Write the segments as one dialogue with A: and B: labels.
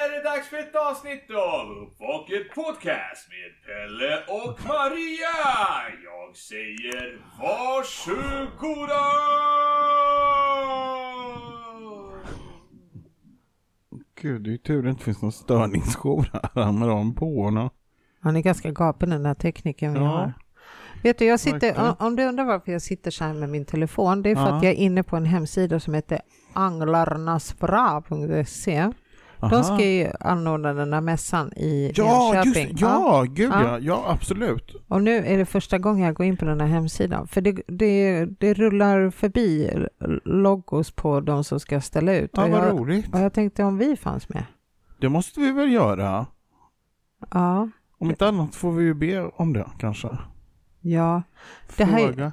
A: ett avsnitt av Uppvaket Podcast med Pelle och Maria. Jag säger varsågoda!
B: Gud, det är ju tur det inte finns någon störningsjour här. Han har dem på honom.
C: Han är ganska gapen den där teknikern vi
B: Ja.
C: har. Vet du, jag sitter,
B: Verkligen.
C: om- om du undrar varför jag sitter så här med min telefon, det är för
B: Ja.
C: att jag är inne på en hemsida som heter anglarnasbra.se.
B: Aha.
C: De ska ju anordna den här mässan i
B: Ja, just
C: Jönköping.
B: det. Ja, gud
C: Ja.
B: ja. Ja, absolut.
C: Och nu är det första gången jag går in på den här hemsidan. För det, det, det rullar förbi logos på de som ska ställa ut.
B: Ja,
C: och,
B: vad
C: jag,
B: roligt.
C: och jag tänkte om vi fanns med.
B: Det måste vi väl göra.
C: Ja,
B: Om inte annat får vi ju be om det kanske.
C: ja. Det här är-
B: Fråga.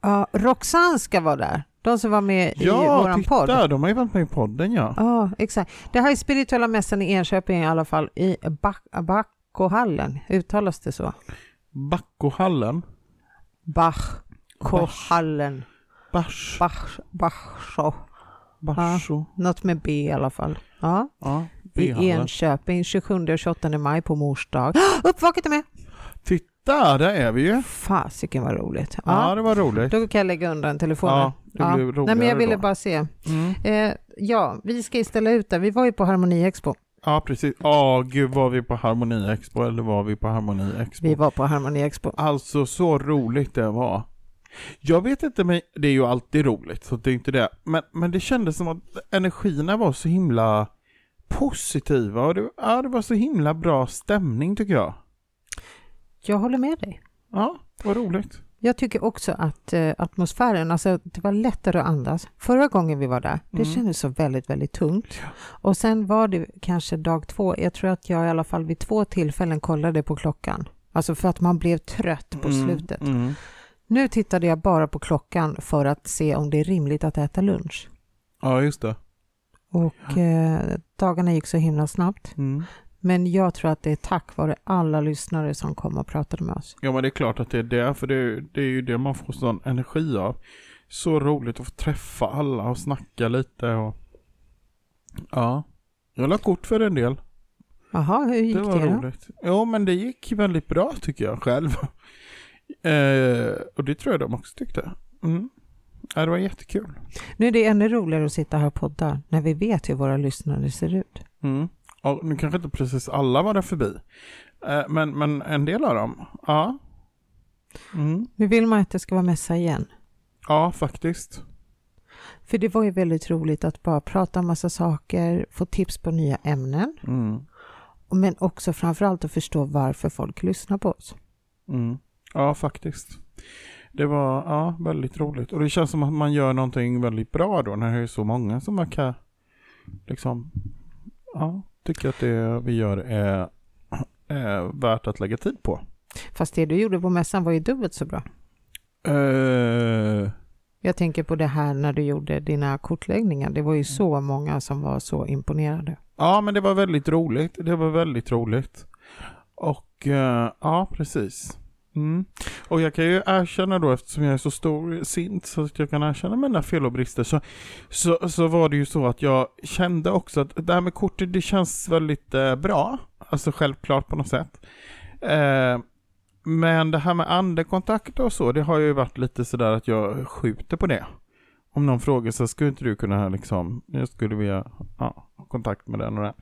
C: ja Roxanne ska vara där. De som var med i
B: Ja,
C: våran
B: titta.
C: podd.
B: De har ju varit med i podden ja.
C: Ja, exakt. Det här är spirituella mässan i Enköping i alla fall, i Back, Backohallen. Uttalas det så?
B: Backohallen.
C: Backohallen.
B: Bars.
C: Bach, Bachsho.
B: Barso.
C: Något med B i alla fall. Ja,
B: Ja.
C: i
B: B-hallen.
C: Enköping 27 och 28 maj på mors dag. Uppvaket är med!
B: Titta, där är vi ju.
C: Fasiken vad roligt.
B: Ja,
C: Ja,
B: det var roligt.
C: då kan jag lägga undan telefonen.
B: Ja, det blir
C: Nej, men
B: roligare
C: jag ville
B: då.
C: bara se.
B: Mm.
C: Eh, ja, vi ska ju ställa ut där. Vi var ju på Harmoni Expo.
B: Ja, precis. Ja, gud, var vi på Harmoni Expo eller var vi på Harmoni Expo?
C: Vi var på Harmoni Expo.
B: Alltså så roligt det var. Jag vet inte, men det är ju alltid roligt, så det är inte det. Men, men det kändes som att energierna var så himla positiva och det, ja, det var så himla bra stämning tycker jag.
C: Jag håller med dig.
B: Ja, vad roligt.
C: Jag tycker också att eh, atmosfären, alltså det var lättare att andas. Förra gången vi var där, det
B: Mm.
C: kändes så väldigt, väldigt tungt. Och sen var det kanske dag två, jag tror att jag i alla fall vid två tillfällen kollade på klockan. Alltså för att man blev trött på
B: Mm,
C: slutet.
B: Mm.
C: Nu tittade jag bara på klockan för att se om det är rimligt att äta lunch.
B: Ja, just det.
C: Och eh, dagarna gick så himla snabbt.
B: Mm.
C: Men jag tror att det är tack vare alla lyssnare som kom och pratade med oss.
B: Ja, men det är klart att det är det, för det är, det är ju det man får sån energi av. Så roligt att få träffa alla och snacka lite och... Ja. Jag la kort för en del.
C: Jaha, hur gick
B: Det
C: det,
B: var
C: då?
B: roligt. Jo, men det gick väldigt bra tycker jag själv. Eh, och det tror jag de också tyckte. Mm. Ja, det var jättekul.
C: Nu är det ännu roligare att sitta här och podda när vi vet hur våra lyssnare ser ut.
B: Mm. Ja, nu kanske inte precis alla var där förbi. Eh, men, men en del av dem. Ja. Mm.
C: Nu vill man att det ska vara mässa igen.
B: Ja, faktiskt.
C: För det var ju väldigt roligt att bara prata om massa saker, få tips på nya ämnen,
B: Mm.
C: men också framförallt att förstå varför folk lyssnar på oss.
B: Mm. Ja, faktiskt. Det var ja, väldigt roligt. Och det känns som att man gör någonting väldigt bra då när det är så många som man kan liksom ja, tycka att det vi gör är, är värt att lägga tid på.
C: Fast det du gjorde på mässan var ju dubbelt så bra.
B: Eh,
C: Jag tänker på det här när du gjorde dina kortläggningar. Det var ju så många som var så imponerade.
B: ja, men det var väldigt roligt. Det var väldigt roligt. Och eh, ja, precis. Mm. Och jag kan ju erkänna då eftersom jag är så stor sint så att jag kan erkänna mina fel och brister så, så, så var det ju så att jag kände också att det här med kortet det känns väldigt eh, bra. Alltså självklart på något sätt. Eh, men det här med andekontakt och så det har ju varit lite sådär att jag skjuter på det. Om någon frågar så här, skulle inte du kunna liksom, jag skulle vilja ja, ha kontakt med den och den.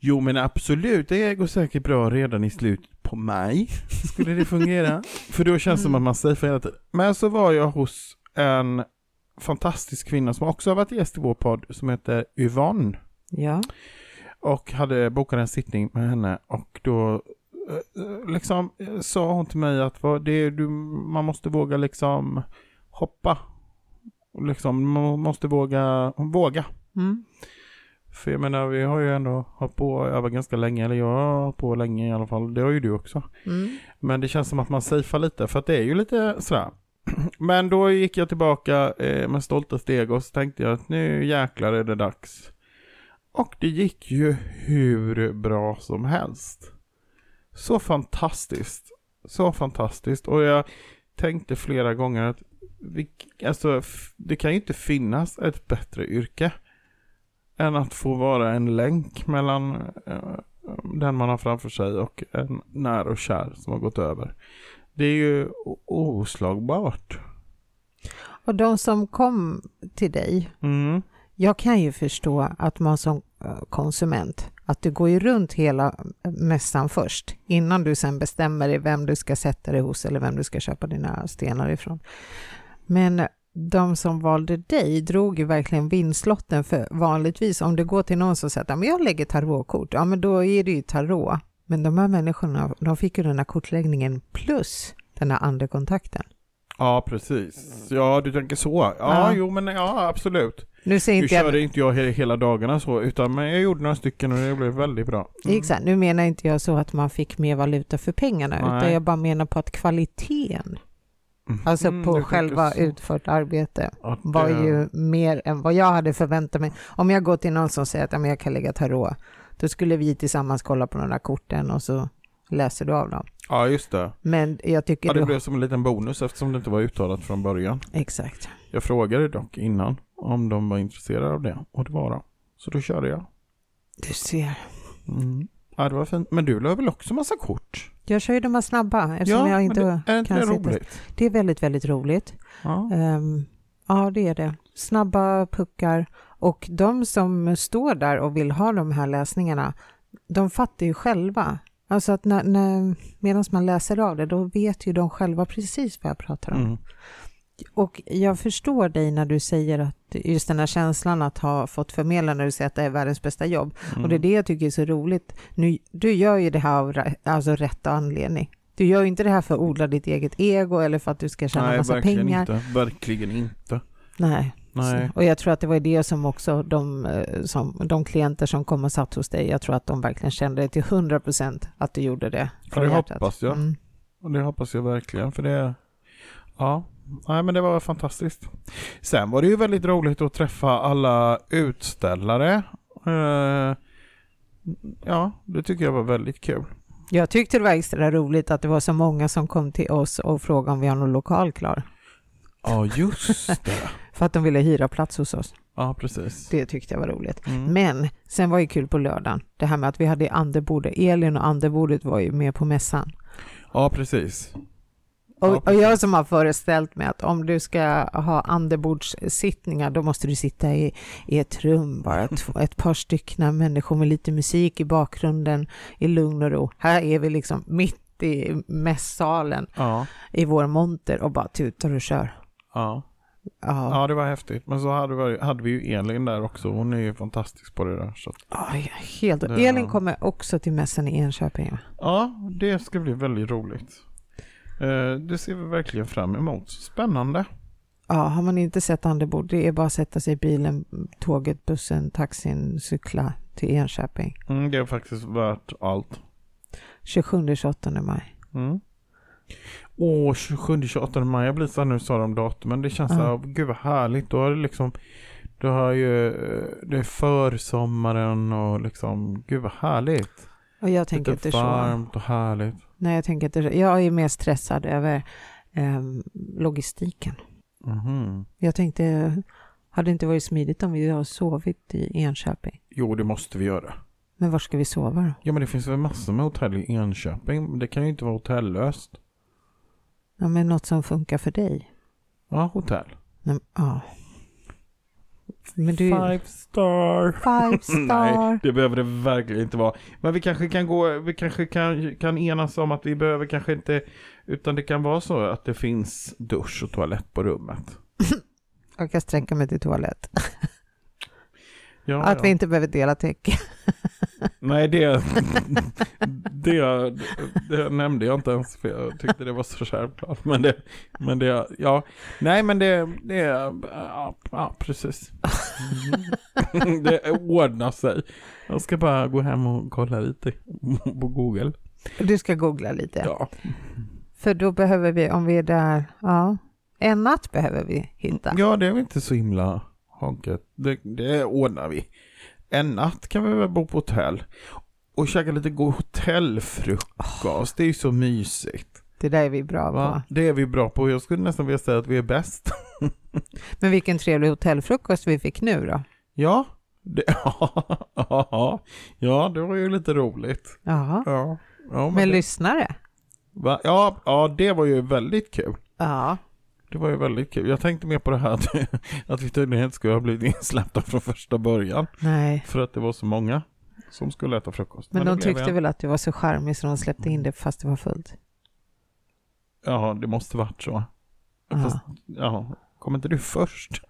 B: Jo men absolut, det går säkert bra redan i slutet på maj. Skulle det fungera? För då känns det som att man säger för hela tiden. Men så var jag hos en fantastisk kvinna som också har varit gäst i vår podd som heter Yvonne
C: Ja,
B: och hade bokat en sittning med henne och då eh, eh, liksom eh, sa hon till mig att vad, det är, du, man måste våga liksom hoppa. Och Liksom, man måste våga, våga.
C: mm.
B: För jag menar vi har ju ändå hållit på över ganska länge, eller jag har hållit på länge i alla fall, det har ju du också.
C: Mm.
B: Men det känns som att man safear lite, för att det är ju lite sådär. Men då gick jag tillbaka eh, med stolta steg och så tänkte jag att nu jäklar är det dags. Och det gick ju hur bra som helst. Så fantastiskt. Så fantastiskt. Och jag tänkte flera gånger att vi, alltså, f- det kan ju inte finnas ett bättre yrke än att få vara en länk mellan eh, den man har framför sig och en när och kär som har gått över. Det är ju o- oslagbart.
C: Och de som kom till dig,
B: Mm.
C: jag kan ju förstå att man som eh, konsument, att du går ju runt hela eh, mässan först, innan du sen bestämmer dig vem du ska sätta dig hos eller vem du ska köpa dina stenar ifrån. Men eh, de som valde dig drog ju verkligen vinstlotten för vanligtvis om du går till någon som säger att "Ja, men jag lägger tarotkort, ja men då är det ju tarot. Men de här människorna, de fick ju den här kortläggningen plus den här andekontakten.
B: Ja, precis. Ja, du tänker så. Ja,
C: Ja.
B: jo men ja, absolut.
C: Nu säger
B: Nu
C: inte jag
B: körde inte jag he- hela dagarna så, utan men jag gjorde några stycken och det blev väldigt bra. Mm.
C: Exakt, nu menar inte jag så att man fick mer valuta för pengarna,
B: Nej.
C: utan jag bara menar på att kvaliteten, alltså
B: Mm,
C: på
B: jag tänker
C: själva
B: så.
C: utfört arbete,
B: Att,
C: var
B: eh,
C: ju mer än vad jag hade förväntat mig. Om jag går till någon som säger att "Ja, men jag kan lägga tarot, då skulle vi tillsammans kolla på de där korten och så läser du av dem.
B: Ja, just det.
C: Men jag tycker
B: Ja, det
C: du...
B: blev som en liten bonus eftersom det inte var uttalat från början.
C: Exakt.
B: Jag frågade dock innan om de var intresserade av det och det var de. Så då körde jag.
C: Du ser.
B: Mm. Ja, det var fint. Men du la väl också massa kort?
C: Jag kör ju de här snabba eftersom
B: ja,
C: jag
B: men
C: inte
B: det, är inte
C: kan
B: det
C: sitta-
B: roligt?
C: Det är väldigt, väldigt roligt.
B: Ja.
C: Ehm, ja, det är det. Snabba puckar. Och de som står där och vill ha de här läsningarna, de fattar ju själva. Alltså att när, när, medan man läser av det, då vet ju de själva precis vad jag pratar om.
B: Mm.
C: Och jag förstår dig när du säger att just den här känslan att ha fått förmedla när du säger att det är världens bästa jobb.
B: Mm.
C: Och det är det jag tycker är så roligt. Nu, du gör ju det här av ra- alltså rätt anledning. Du gör ju inte det här för att odla ditt eget ego eller för att du ska tjäna
B: Nej,
C: massa
B: verkligen
C: pengar.
B: inte. Verkligen inte.
C: Nej.
B: Nej.
C: Och jag tror att det var det som också de, eh, som, de klienter som kom och satt hos dig, jag tror att de verkligen kände det till 100 procent att du gjorde det. från
B: det
C: hjärtat.
B: hoppas jag.
C: Mm.
B: Och det hoppas jag verkligen för det... Ja. Nej men det var fantastiskt. Sen var det ju väldigt roligt att träffa alla utställare. Eh, ja, det tycker jag var väldigt kul.
C: Jag tyckte det var extra roligt att det var så många som kom till oss och frågade om vi har någon lokal klar.
B: Ja, just det.
C: För att de ville hyra plats hos oss.
B: ja, precis.
C: Det tyckte jag var roligt.
B: Mm.
C: Men sen var det kul på lördagen, det här med att vi hade andebordet. Elin och andebordet var ju med på mässan.
B: Ja, precis. Ja,
C: Och, och
B: precis.
C: jag som har föreställt mig att om du ska ha andebordssittningar då måste du sitta i, i ett rum, bara ett, ett par stycken människor med lite musik i bakgrunden i lugn och ro. Här är vi liksom mitt i mässsalen
B: Ja,
C: i vår monter och bara tutar och kör.
B: ja.
C: Ja,
B: ja, det var häftigt. Men så hade vi, hade vi ju Elin där också. Hon är ju fantastisk på det där. Så. att-
C: ja. helt.
B: Det-
C: Elin kommer också till mässan i Enköping. va?
B: Ja, det ska bli väldigt roligt. Eh, det ser vi verkligen fram emot. Spännande.
C: Ja, har man inte sett andebord, det är bara att sätta sig i bilen, tåget, bussen, taxin, cykla till Enköping.
B: Mm, det är faktiskt värt allt.
C: 27-28 maj.
B: Mm. Åh, 27-28 maj. Jag blir så här nu sa de datumen. Det känns så här, gud vad härligt. Då har det liksom, du har ju, eh, det är försommaren och liksom, gud vad härligt.
C: Och jag tänker
B: Lite
C: inte så.
B: varmt och härligt.
C: Nej, jag tänker inte så. Jag är mer stressad över eh, logistiken.
B: Mhm.
C: Jag tänkte, hade det inte varit smidigt om vi har sovit i Enköping?
B: Jo, det måste vi göra.
C: Men var ska vi sova då?
B: Ja, men det finns väl massor med hotell i Enköping. men Det kan ju inte vara hotellöst.
C: Ja, men något som funkar för dig?
B: Ja, hotell.
C: Nej, men- Ja. Men du... Five,
B: star. Nej,
C: star.
B: det behöver det verkligen inte vara. Men vi kanske kan gå, vi kanske kan, kan enas om att vi behöver kanske inte, utan det kan vara så att det finns dusch och toalett på rummet.
C: jag kan sträcka mig till toalett.
B: Ja,
C: att
B: ja.
C: vi inte behöver dela täcke.
B: Nej, det, det, det nämnde jag inte ens för jag tyckte det var så självklart. Men det, men det, ja. Nej, men det, det, ja, ja precis. Mm. Det ordnar sig. Jag ska bara gå hem och kolla lite på Google.
C: Du ska googla lite.
B: Mm. Ja,
C: För då behöver vi, om vi är där, ja. En natt behöver vi hitta.
B: ja det är väl inte så himla honket. Det, det ordnar vi. En natt kan vi väl bo på hotell. Och käka lite god hotellfrukost. Det är ju så mysigt.
C: Det där är vi bra på.
B: Va? Det är vi bra på. Jag skulle nästan vilja säga att vi är bäst.
C: Men vilken trevlig hotellfrukost vi fick nu då.
B: Ja, Det, ja, ja, det var ju lite roligt.
C: Jaha.
B: Ja, ja, men
C: Med
B: det,
C: lyssnare?
B: va, ja, ja, det var ju väldigt kul.
C: Ja.
B: Det var ju väldigt kul. Jag tänkte mer på det här att, att vi tydligen inte skulle ha blivit insläppta från första början.
C: Nej.
B: För att det var så många som skulle äta frukost.
C: Men
B: det
C: de
B: blev
C: tyckte
B: en.
C: väl att du var så charmig så de släppte in det fast det var fullt.
B: Ja, det måste varit så. Fast,
C: Ja,
B: ja, kom inte du först?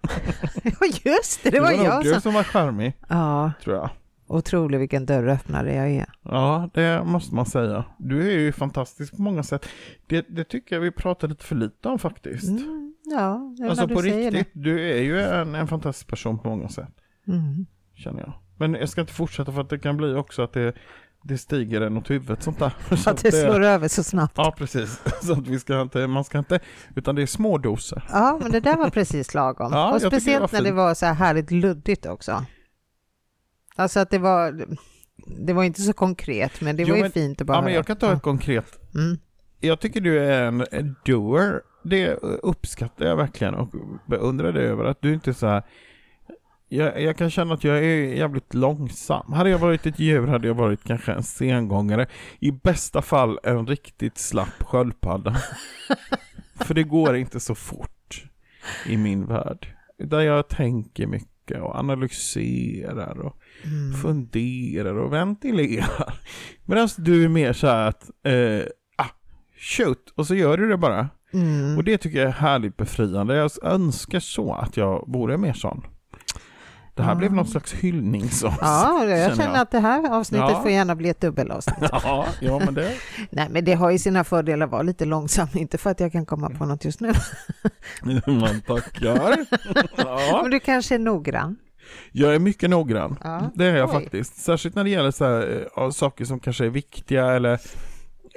C: ja just det, det var
B: nog
C: jag
B: du
C: som...
B: som var charmig,
C: Ja,
B: tror jag.
C: otrolig vilken dörröppnare jag är.
B: Ja, det måste man säga. Du är ju fantastisk på många sätt. Det, det tycker jag vi pratar lite för lite om faktiskt.
C: Mm, ja, det är
B: alltså
C: när
B: på
C: du säger
B: riktigt, du är ju en, en fantastisk person på många sätt,
C: det. Mm.
B: känner jag. Men jag ska inte fortsätta för att det kan bli också att det, det stiger en åt huvudet sånt där. Så
C: Att det slår över så snabbt.
B: Ja, precis. Så att vi ska inte, man ska inte, utan det är små doser.
C: Ja, men det där var precis lagom.
B: Ja, jag
C: och
B: tycker det
C: speciellt
B: var
C: när det
B: fint.
C: var så här härligt luddigt också. Alltså att det var, det var inte så konkret, men det
B: Jo,
C: var ju
B: men-
C: fint att bara
B: Ja, men jag kan ta
C: höra.
B: ett konkret.
C: Ja. Mm.
B: Jag tycker du är en en doer. Det uppskattar jag verkligen och beundrar dig över att du inte är så här. Jag, jag kan känna att jag är jävligt långsam. Hade jag varit ett djur hade jag varit kanske en sengångare. I bästa fall en riktigt slapp sköldpadda. För det går inte så fort i min värld. Utan jag tänker mycket och analyserar och
C: Mm.
B: funderar och ventilerar. Medan du är mer så här att, eh, ah, shoot, och så gör du det bara.
C: Mm.
B: Och det tycker jag är härligt befriande. Jag önskar så att jag vore mer sån. Det här
C: Ja.
B: blev någon slags hyllningsavsnitt.
C: Ah. Ja, jag känner att det här avsnittet
B: Ja.
C: får gärna bli ett dubbelavsnitt.
B: Ja, ja men det...
C: Nej, men det har ju sina fördelar att vara lite långsam, inte för att jag kan komma på något just nu.
B: Man tackar. Ja.
C: Men du kanske är noggrann.
B: Jag är mycket noggrann.
C: Ja.
B: Det är jag
C: Oj.
B: faktiskt. Särskilt när det gäller så här, eh, ja, saker som kanske är viktiga eller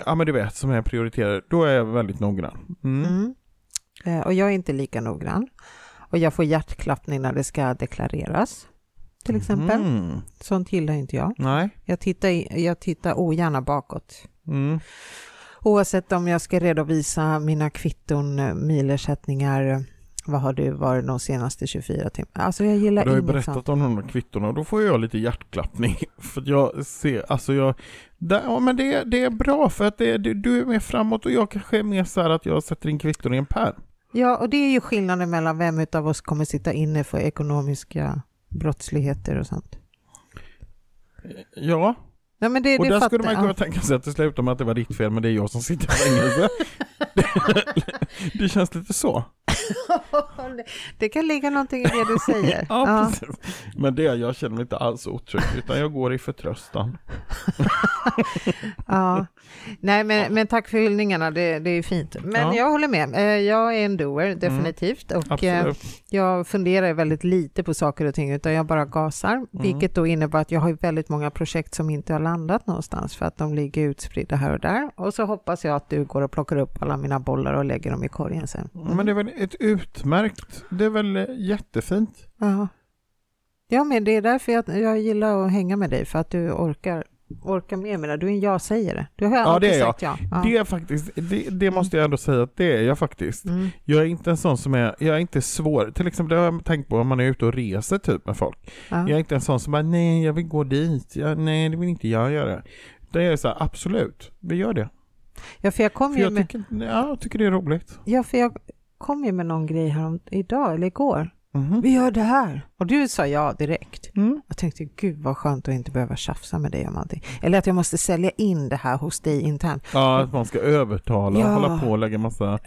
B: Ja men du vet, som är prioriterade. Då är jag väldigt noggrann. Mm.
C: Mm. Eh, Och jag är inte lika noggrann. Och jag får hjärtklappning när det ska deklareras, till exempel.
B: Mm.
C: Sånt gillar inte jag.
B: Nej.
C: Jag tittar, i- jag tittar ogärna bakåt.
B: Mm.
C: Oavsett om jag ska redovisa mina kvitton, eh, milersättningar, eh, vad har du varit de senaste 24 timmarna? Alltså jag
B: Du
C: gillar
B: har ju liksom.
C: inget sånt.
B: berättat om de där kvittorna och då får jag lite hjärtklappning. För att jag ser, alltså jag, där, ja men det, det är bra för att det, du, du är mer framåt och jag kanske är mer så här att jag sätter in kvitton i en pärm.
C: Ja, och det är ju skillnaden mellan vem utav oss kommer sitta inne för ekonomiska brottsligheter och sånt.
B: Ja,
C: Ja, men det,
B: och
C: det
B: där
C: fattar-
B: skulle man
C: ja.
B: kunna tänka sig att det slutar med att det var ditt fel men det är jag som sitter i fängelse. det, det känns lite så.
C: Det kan ligga någonting i det du säger.
B: Ja, precis. Men det, jag känner mig inte alls otrygg utan jag går i förtröstan.
C: ja. Nej, men, men tack för hyllningarna, det, det är ju fint. Men
B: Ja. Mm.
C: jag håller med, Eh, jag är en doer definitivt och eh,
B: Absolut.
C: jag funderar väldigt lite på saker och ting utan jag bara
B: Mm.
C: gasar, vilket då innebär att jag har ju väldigt många projekt som inte har landat någonstans för att de ligger utspridda här och där. Och så hoppas jag att du går och plockar upp alla mina bollar och lägger dem i korgen sen.
B: Men det är väl ett utmärkt, det är väl jättefint.
C: Ja. Ja, men det är därför jag, jag gillar att hänga med dig, för att du orkar, orkar med mig. Du är en ja-sägare. Du har
B: Ja,
C: alltid
B: det är jag.
C: sagt ja. ja.
B: Det är faktiskt, det, det måste jag ändå säga att det är jag faktiskt.
C: Mm.
B: Jag är inte en sån som är, jag är inte svår. Till exempel det har jag tänkt på om man är ute och reser typ med folk.
C: Ja.
B: Jag är inte en sån som bara, nej jag vill gå dit, jag, nej det vill inte jag göra. Det är så här, absolut, vi gör det.
C: Ja, för jag kom
B: För
C: ju
B: jag
C: med,
B: tycker, ja, jag tycker det är roligt.
C: ja, för jag kom ju med någon grej här om, idag eller igår.
B: Mhm.
C: Vi gör det här. Och du sa ja direkt.
B: Mm.
C: Jag tänkte, gud vad skönt att inte behöva tjafsa med dig om allting. Eller att jag måste sälja in det här hos dig internt.
B: Ja, att man ska övertala
C: Ja.
B: och hålla på och lägga massa...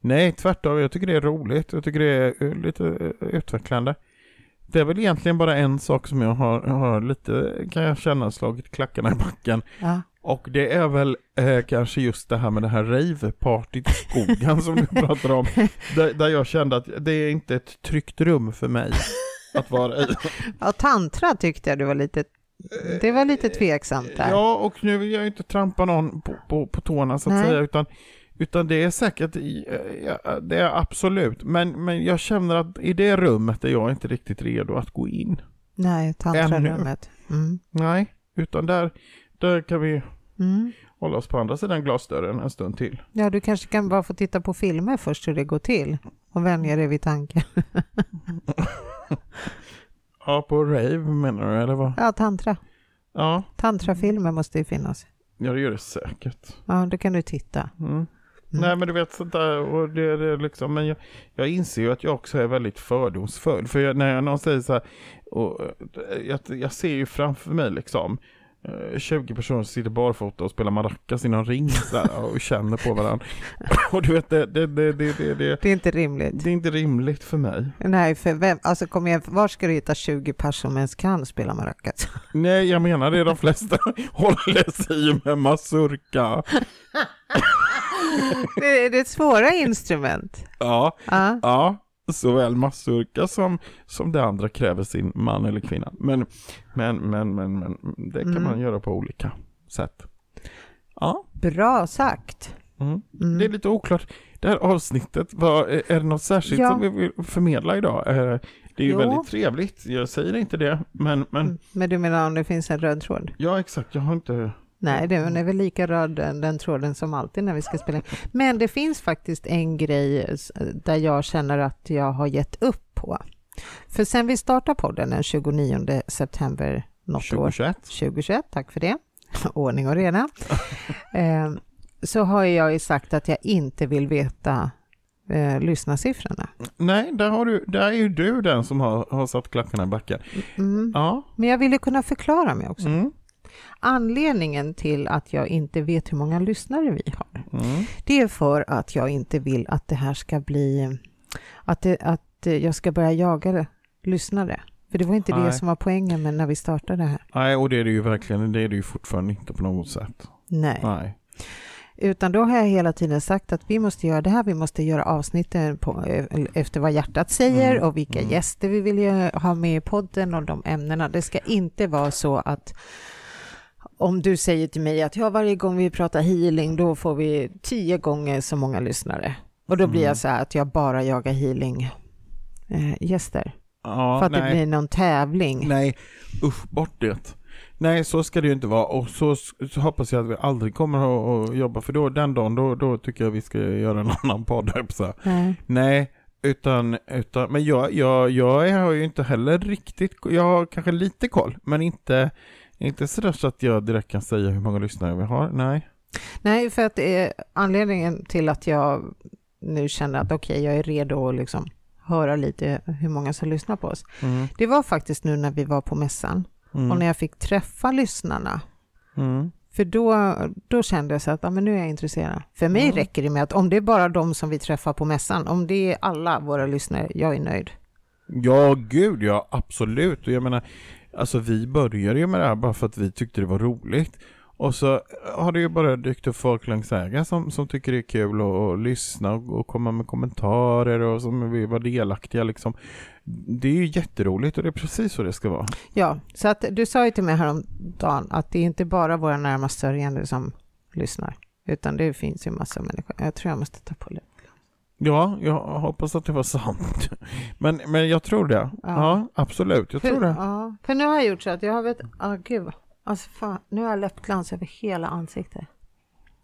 B: Nej, tvärtom. Jag tycker det är roligt. Jag tycker det är eh, lite eh, utvecklande. Det är väl egentligen bara en sak som jag har, har lite, kan jag känna, slagit klackarna i backen.
C: Ja.
B: Och det är väl eh, kanske just det här med det här ravepartyt i skogen som du pratar om. Där, där jag kände att det är inte ett tryggt rum för mig att vara i.
C: ja, tantra tyckte jag du var lite, det var lite tveksamt där.
B: Ja, och nu vill jag ju inte trampa någon på, på, på tårna så att
C: Nej.
B: säga, utan, utan det är säkert, i- eh, ja, det är absolut, men, men jag känner att i det rummet är jag inte riktigt redo att gå in.
C: Nej, tantrarummet. Mm.
B: Nej, utan där, där kan vi
C: Mm.
B: hålla oss på andra sidan glasdörren en stund till.
C: Ja, du kanske kan bara få titta på filmer först hur det går till och vänja dig vid tanken.
B: Ja, på rave menar du eller vad?
C: Ja, tantra.
B: Ja,
C: Tantrafilmer måste ju finnas.
B: ja det gör det säkert.
C: Ja, då kan du titta.
B: Mm. Nej men du vet sånt där och det, det är liksom, men jag, jag inser ju att jag också är väldigt fördomsfull. För jag, när jag, någon säger så här, och, eh, jag, jag ser ju framför mig liksom eh, 20 personer som sitter barfota och spelar maracas i någon ring så här, och känner på varandra. Och du vet det, det, det, det, det, det,
C: Det är inte rimligt.
B: det är inte rimligt för mig.
C: Nej, för vem, alltså kom igen, var ska du hitta 20 personer som ens kan spela maracas?
B: Nej, jag menar det. De flesta håller sig med mazurka.
C: Det är det är ett svåra instrument.
B: Ja,
C: Ja.
B: ja. Såväl mazurka som, som det andra kräver sin man eller kvinna. Men, men, men, men, men det kan
C: Mm.
B: man göra på olika sätt. Ja,
C: Bra sagt.
B: mm.
C: Mm.
B: det är lite oklart. Det här avsnittet, vad, är det något särskilt
C: Ja.
B: som vi vill förmedla idag? Eh, Det är ju
C: Jo.
B: väldigt trevligt, jag säger inte det, men, men
C: Mm. Men du menar om det finns en röd tråd?
B: ja exakt, jag har inte...
C: Nej, den är väl lika röd den, den tråden som alltid när vi ska spela in. Men det finns faktiskt en grej s- där jag känner att jag har gett upp på. För sen vi startade podden den 29 september något år
B: 2021?
C: 2021, tack för det. Ordning och reda. eh, så har jag ju sagt att jag inte vill veta eh, lyssnarsiffrorna.
B: Nej, där, har du, där är ju du den som har, har satt klackarna i backen.
C: Mm.
B: Ja.
C: Men jag ville kunna förklara mig också.
B: Mm.
C: Anledningen till att jag inte vet hur många lyssnare vi har
B: Mm.
C: Det är för att jag inte vill att det här ska bli... Att, det, att eh, jag ska börja jaga det- lyssnare. För det var inte det
B: Nej.
C: som var poängen med när vi startade det här.
B: Nej, och det är det ju verkligen. Det är det ju fortfarande inte på något sätt.
C: Nej.
B: Nej.
C: Utan då har jag hela tiden sagt att vi måste göra det här, vi måste göra avsnitten på, eh, efter vad hjärtat säger
B: Mm,
C: och vilka
B: mm.
C: gäster vi vill ju ha med i podden och de ämnena. Det ska inte vara så att om du säger till mig att ja, varje gång vi pratar healing då får vi tio gånger så många lyssnare. Och då blir
B: Mm.
C: jag så här att jag bara jagar healing eh, gäster.
B: Ja,
C: för att det
B: nej.
C: blir någon tävling.
B: Nej, usch bort det. Nej, så ska det ju inte vara och så, så hoppas jag att vi aldrig kommer att, att jobba för då den dagen då, då tycker jag vi ska göra en annan podd. höll jag på att säga.
C: Nej.
B: Nej, utan, utan men jag, jag, jag har ju inte heller riktigt, jag har kanske lite koll, men inte, inte sådär så att jag direkt kan säga hur många lyssnare vi har. Nej.
C: Nej, för att eh, anledningen till att jag nu känner att okej, jag är redo att liksom höra lite hur många som lyssnar på oss.
B: Mm.
C: Det var faktiskt nu när vi var på mässan och när jag fick träffa lyssnarna.
B: Mm.
C: För då, då kände jag så att ja, men nu är jag intresserad. För mig
B: Mm.
C: räcker det med att om det är bara de som vi träffar på mässan, om det är alla våra lyssnare, jag är nöjd.
B: Ja, gud ja, absolut. Och jag menar, alltså vi började ju med det här bara för att vi tyckte det var roligt. Och så har det ju bara dykt upp folk längs vägen som, som tycker det är kul att och lyssna och, och komma med kommentarer och som vill vara delaktiga liksom. Det är ju jätteroligt och det är precis så det ska vara.
C: Ja, så att du sa ju till mig häromdagen att det är inte bara våra närmast sörjande som lyssnar, utan det finns ju massa människor. Jag tror jag måste ta på det.
B: Ja, jag hoppas att det var sant. Men, men jag tror det. Ja, absolut. Jag tror
C: för,
B: det.
C: Ja, för nu har jag gjort så att jag har vet, ah, gud, alltså fan, nu har jag läppglans över hela ansiktet.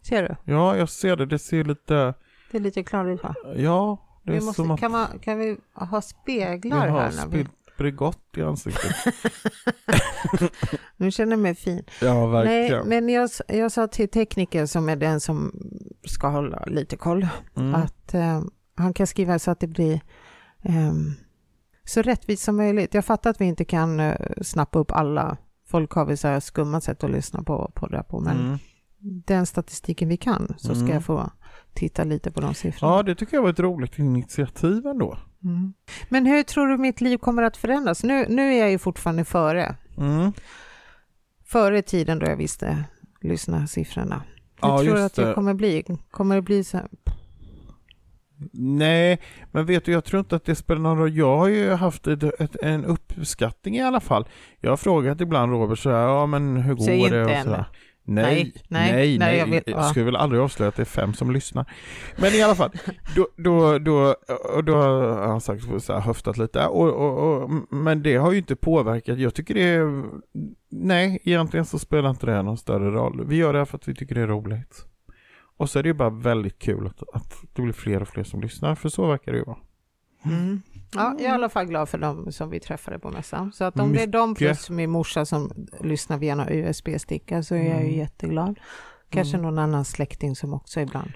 C: Ser du?
B: Ja, jag ser det. Det ser lite,
C: Det är lite klarvitt va?
B: ja, det är
C: Vi måste,
B: som att
C: kan, man, kan vi ha
B: vi
C: speglar
B: har
C: här? När vi,
B: spillt Bregott i ansiktet.
C: nu känner jag mig fin.
B: Ja,
C: Nej,
B: verkligen.
C: men jag, s- jag sa till tekniker som är den som ska hålla lite koll,
B: mm.
C: att eh, han kan skriva så att det blir ehm, så rättvist som möjligt. Jag fattar att vi inte kan eh, snappa upp alla. Folk har väl så här skumma sätt att lyssna på poddar på, men
B: Mm.
C: den statistiken vi kan så ska
B: Mm.
C: jag få titta lite på de siffrorna.
B: Ja, det tycker jag var ett roligt initiativ ändå.
C: Mm. Men hur tror du mitt liv kommer att förändras? Nu, nu är jag ju fortfarande före,
B: Mm.
C: före tiden då jag visste lyssna siffrorna. Hur
B: Ja,
C: tror du
B: just
C: att det
B: det.
C: kommer bli? Kommer det bli så här?
B: Nej, men vet du, jag tror inte att det spelar någon roll. Jag har ju haft ett, ett, en uppskattning i alla fall. Jag har frågat ibland Robert så här, ja men hur går
C: Säg inte
B: det? Och
C: än.
B: så här.
C: Nej,
B: Nej,
C: nej,
B: nej,
C: nej,
B: nej,
C: jag vill- ja.
B: Jag skulle väl aldrig avslöja att det är fem som lyssnar. Men i alla fall, då, då, då, och då har han sagt så här, höftat lite. Och, och, och, men det har ju inte påverkat. Jag tycker det är, nej, egentligen så spelar inte det här någon större roll. Vi gör det här för att vi tycker det är roligt. Och så är det ju bara väldigt kul att, att det blir fler och fler som lyssnar, för så verkar det ju vara.
C: Mm. Ja, jag är i alla fall glad för dem som vi träffade på mässan. Så att om det är de
B: Mycket.
C: plus min morsa som lyssnar via några USB-sticka så är jag ju
B: Mm.
C: jätteglad. Kanske någon annan släkting som också ibland.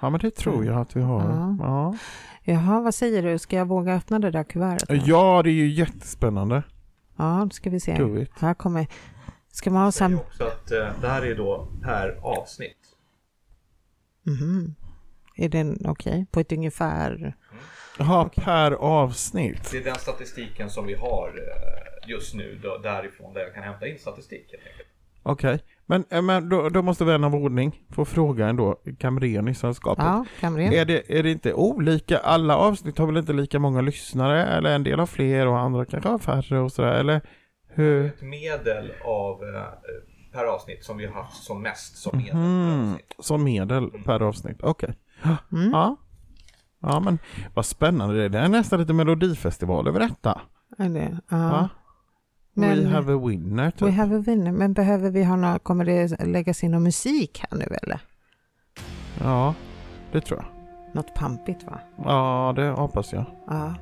B: Ja, men det tror jag att vi har.
C: Mm. Ja.
B: Ja,
C: Jaha, vad säger du? Ska jag våga öppna det där kuvertet? nu?
B: ja det är ju jättespännande.
C: Ja, då ska vi se.
B: Tror vi.
C: Här kommer... Ska man ha
D: Det är
C: sam...
D: ju också att eh, det här är då per avsnitt.
C: Mhm. Är den okej? På ett ungefär?
B: Ja, per avsnitt.
D: Det är den statistiken som vi har eh, just nu då, därifrån där jag kan hämta in statistik helt enkelt.
B: Okej. Men, eh, men då, då måste vän av ordning få fråga ändå, kamrern i sällskapet.
C: Ja, kamrer.
B: Är det, är det inte olika? Alla avsnitt har väl inte lika många lyssnare? Eller en del har fler och andra kanske har färre och sådär? Eller hur?
D: Ett medel av eh, per avsnitt som vi har haft som mest som medel.
E: Mhm.
D: Per
B: Mm,
D: avsnitt.
B: som medel per avsnitt. Okej.
C: Mm.
B: Ja. Ja men vad spännande det är. Det är nästan lite melodifestival över detta.
C: Är det? Ja.
B: Va? We
C: Men-
B: have a winner typ.
C: We have a winner. Men behöver vi ha några... Kommer det läggas in någon musik här nu eller?
B: Ja, det tror jag.
C: Något pampigt va?
B: Ja, det hoppas jag.
C: Ja.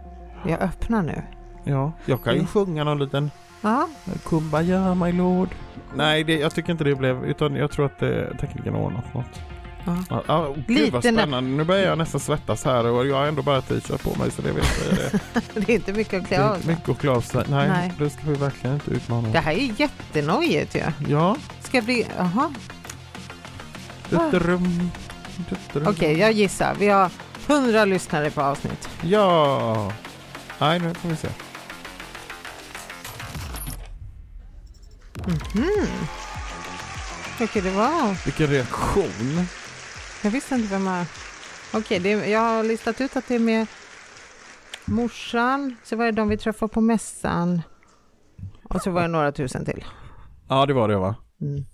C: Jag öppnar nu.
B: Ja, jag kan ju
C: Mm.
B: sjunga någon liten
C: Ja,
B: Kumbaya my lord. Nej, det, jag tycker inte det blev, utan jag tror att eh, teknikerna har ordnat något.
C: Ja.
B: Ja, ja, gud
C: Lite
B: vad
C: nä-
B: spännande. Nu börjar jag nästan svettas här och jag har ändå bara t-shirt på mig så det vill säga det.
C: det är inte mycket att
B: Det
C: klä
B: är
C: av
B: inte
C: sig.
B: mycket att klä av sig. Nej,
C: Nej.
B: det ska vi verkligen inte utmana.
C: Det här är jättenojigt ju.
B: Ja.
C: Ska bli... Jaha.
B: Dutterum. Dutterum.
C: Ah. Okej, jag gissar. Vi har 100 lyssnare på avsnitt.
B: Ja. Nej, nu får vi se.
C: Tycker det var...
B: Vilken reaktion.
C: Jag visste inte vem jag... Okej, det är- jag har listat ut att det är med morsan, så var det de vi träffade på mässan och så var det några tusen till.
B: Ja, det var det va?
C: Mm.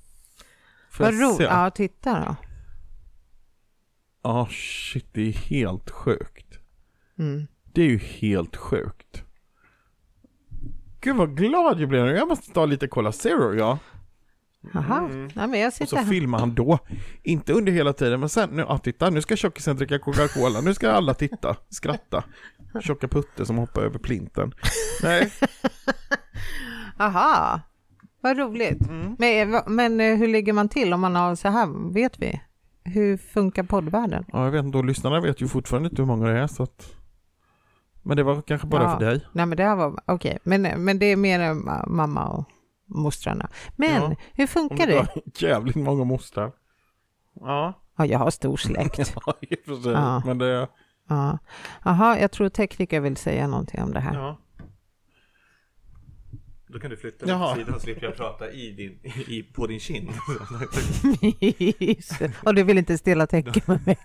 B: Får
C: Vad
B: jag
C: roligt.
B: se?
C: Ja, titta då.
B: Ja, shit, det är helt sjukt.
C: Mm.
B: Det är ju helt sjukt. Gud vad glad jag blev nu. Jag måste ta lite Cola Zero ja.
C: Jaha, Nej, men jag
B: Mm. Och
C: sitter
B: så
C: här.
B: filmar han då. Inte under hela tiden men sen, nu, ah, titta nu ska tjockisen dricka Coca-Cola. Nu ska alla titta, skratta. Tjocka putte som hoppar över plinten. Nej,
C: Jaha, vad roligt.
B: Mm.
C: Men, va- men eh, hur ligger man till om man har så här, vet vi? Hur funkar poddvärlden?
B: ja, jag vet inte. Och lyssnarna vet ju fortfarande inte hur många det är så att... Men det var kanske bara
C: Ja.
B: för dig.
C: Nej men det här var, okej, men, men det är mer än ma- mamma och mostrarna. Men
B: Ja.
C: hur
B: Om
C: funkar
B: det
C: det?
B: var jävligt många mostrar. Ja,
C: Ja, jag har stor släkt.
B: ja i och för sig.
C: Ja.
B: Men det...
C: Ja. Aha, jag tror tekniker vill säga någonting om det här.
B: Ja.
D: Då kan du flytta
B: Jaha.
D: åt sidan så slipper jag prata i din, i, på din kind.
C: och du vill inte stela tecken med mig.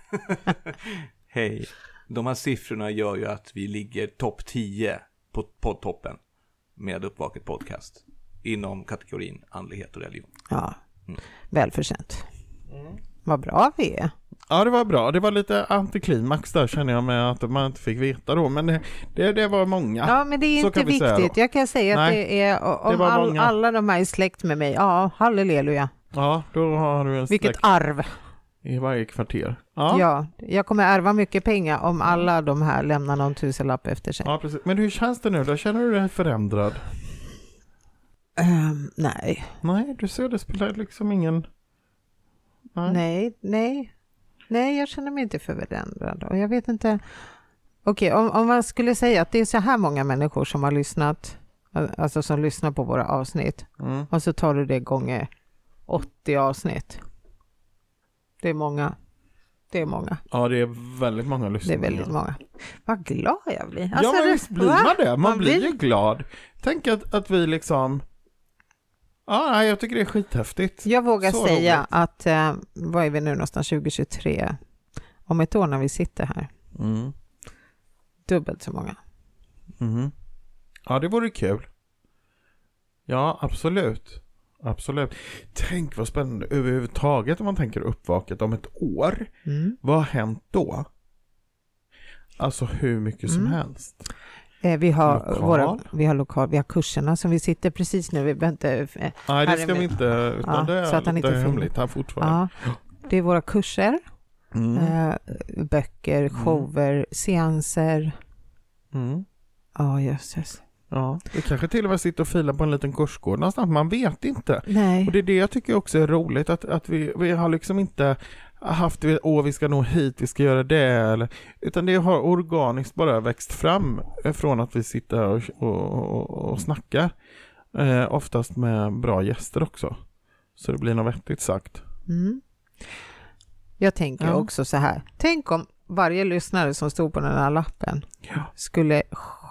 E: Hej. De här siffrorna gör ju att vi ligger topp 10 på poddtoppen med Uppvaket Podcast inom kategorin andlighet och religion.
C: Ja, välförtjänt.
B: Mm.
C: Vad bra vi är.
B: Ja, det var bra. Det var lite antiklimax där känner jag med att man inte fick veta då. Men det, det, det var många.
C: Ja, men det är
B: Ah, så
C: inte
B: kan vi säga
C: viktigt.
B: då.
C: Jag kan säga att
B: Nej,
C: det är, o-
B: det
C: om
B: var
C: all,
B: många.
C: alla de här är släkt med mig, ja, halleluja.
B: Ja, då har du en släkt
C: Vilket arv.
B: i varje kvarter.
C: Ja.
B: Ja. Mm. Ja.
C: ja, jag kommer ärva mycket pengar om alla de här lämnar någon tusenlapp efter sig.
B: precis. Men hur känns det nu då? Känner du dig förändrad?
C: Ehm, nej.
B: Nej, du ser det spelar liksom ingen... Nej.
C: Nej, nej. Nej, jag känner mig inte förändrad och jag vet inte. Okej, om, om man skulle säga att det är så här många människor som har lyssnat, alltså som lyssnar på våra avsnitt
B: Mm.
C: och så tar du det gånger 80 avsnitt. Det är många. Det är många.
B: Ja, det är väldigt många
C: Det är
B: lyssnare.
C: väldigt många. Vad glad jag blir. Alltså,
B: ja, men
C: det-
B: visst blir
C: va?
B: man det? Man,
C: Man
B: blir
C: blir-
B: ju glad. Tänk att, att vi liksom... Ja, nej, jag tycker det är skithäftigt.
C: Jag vågar
B: Så
C: säga
B: roligt.
C: att, eh, vad är vi nu någonstans, 2023? Om ett år när vi sitter här,
B: Mm.
C: dubbelt så många.
B: Mhm. Ja, det vore kul. Ja, absolut. Absolut. Tänk vad spännande överhuvudtaget om man tänker uppvaket om ett år.
C: Mm.
B: Vad har hänt då? Alltså hur mycket som
C: Mm.
B: helst.
C: Eh, Vi har,
B: Lokal.
C: våra, vi har lokal, vi har kurserna som vi sitter precis nu. Vi behöver inte, eh,
B: Nej,
C: Här
B: det
C: är
B: ska vi
C: min-
B: inte, utan
C: Ja,
B: det är
C: så att han
B: lite
C: inte filmar.
B: hemligt här fortfarande.
C: ja, det är våra kurser,
B: Mm.
C: eh, böcker, shower, seanser,
B: Mm.
C: Ja, jösses.
B: Ja, det kanske till och med sitter och filar på en liten kursgård någonstans, man vet inte. Och
C: Nej.
B: det är det jag tycker också är roligt, att, att vi, vi har liksom inte haft, åh vi ska nå hit, vi ska göra det, eller, utan det har organiskt bara växt fram eh, från att vi sitter här och, och, och, och snackar. Eh, oftast med bra gäster också. Så det blir något vettigt sagt.
C: Mm. Jag tänker
B: Ja.
C: också så här. Tänk om varje lyssnare som stod på den här lappen
B: Ja.
C: skulle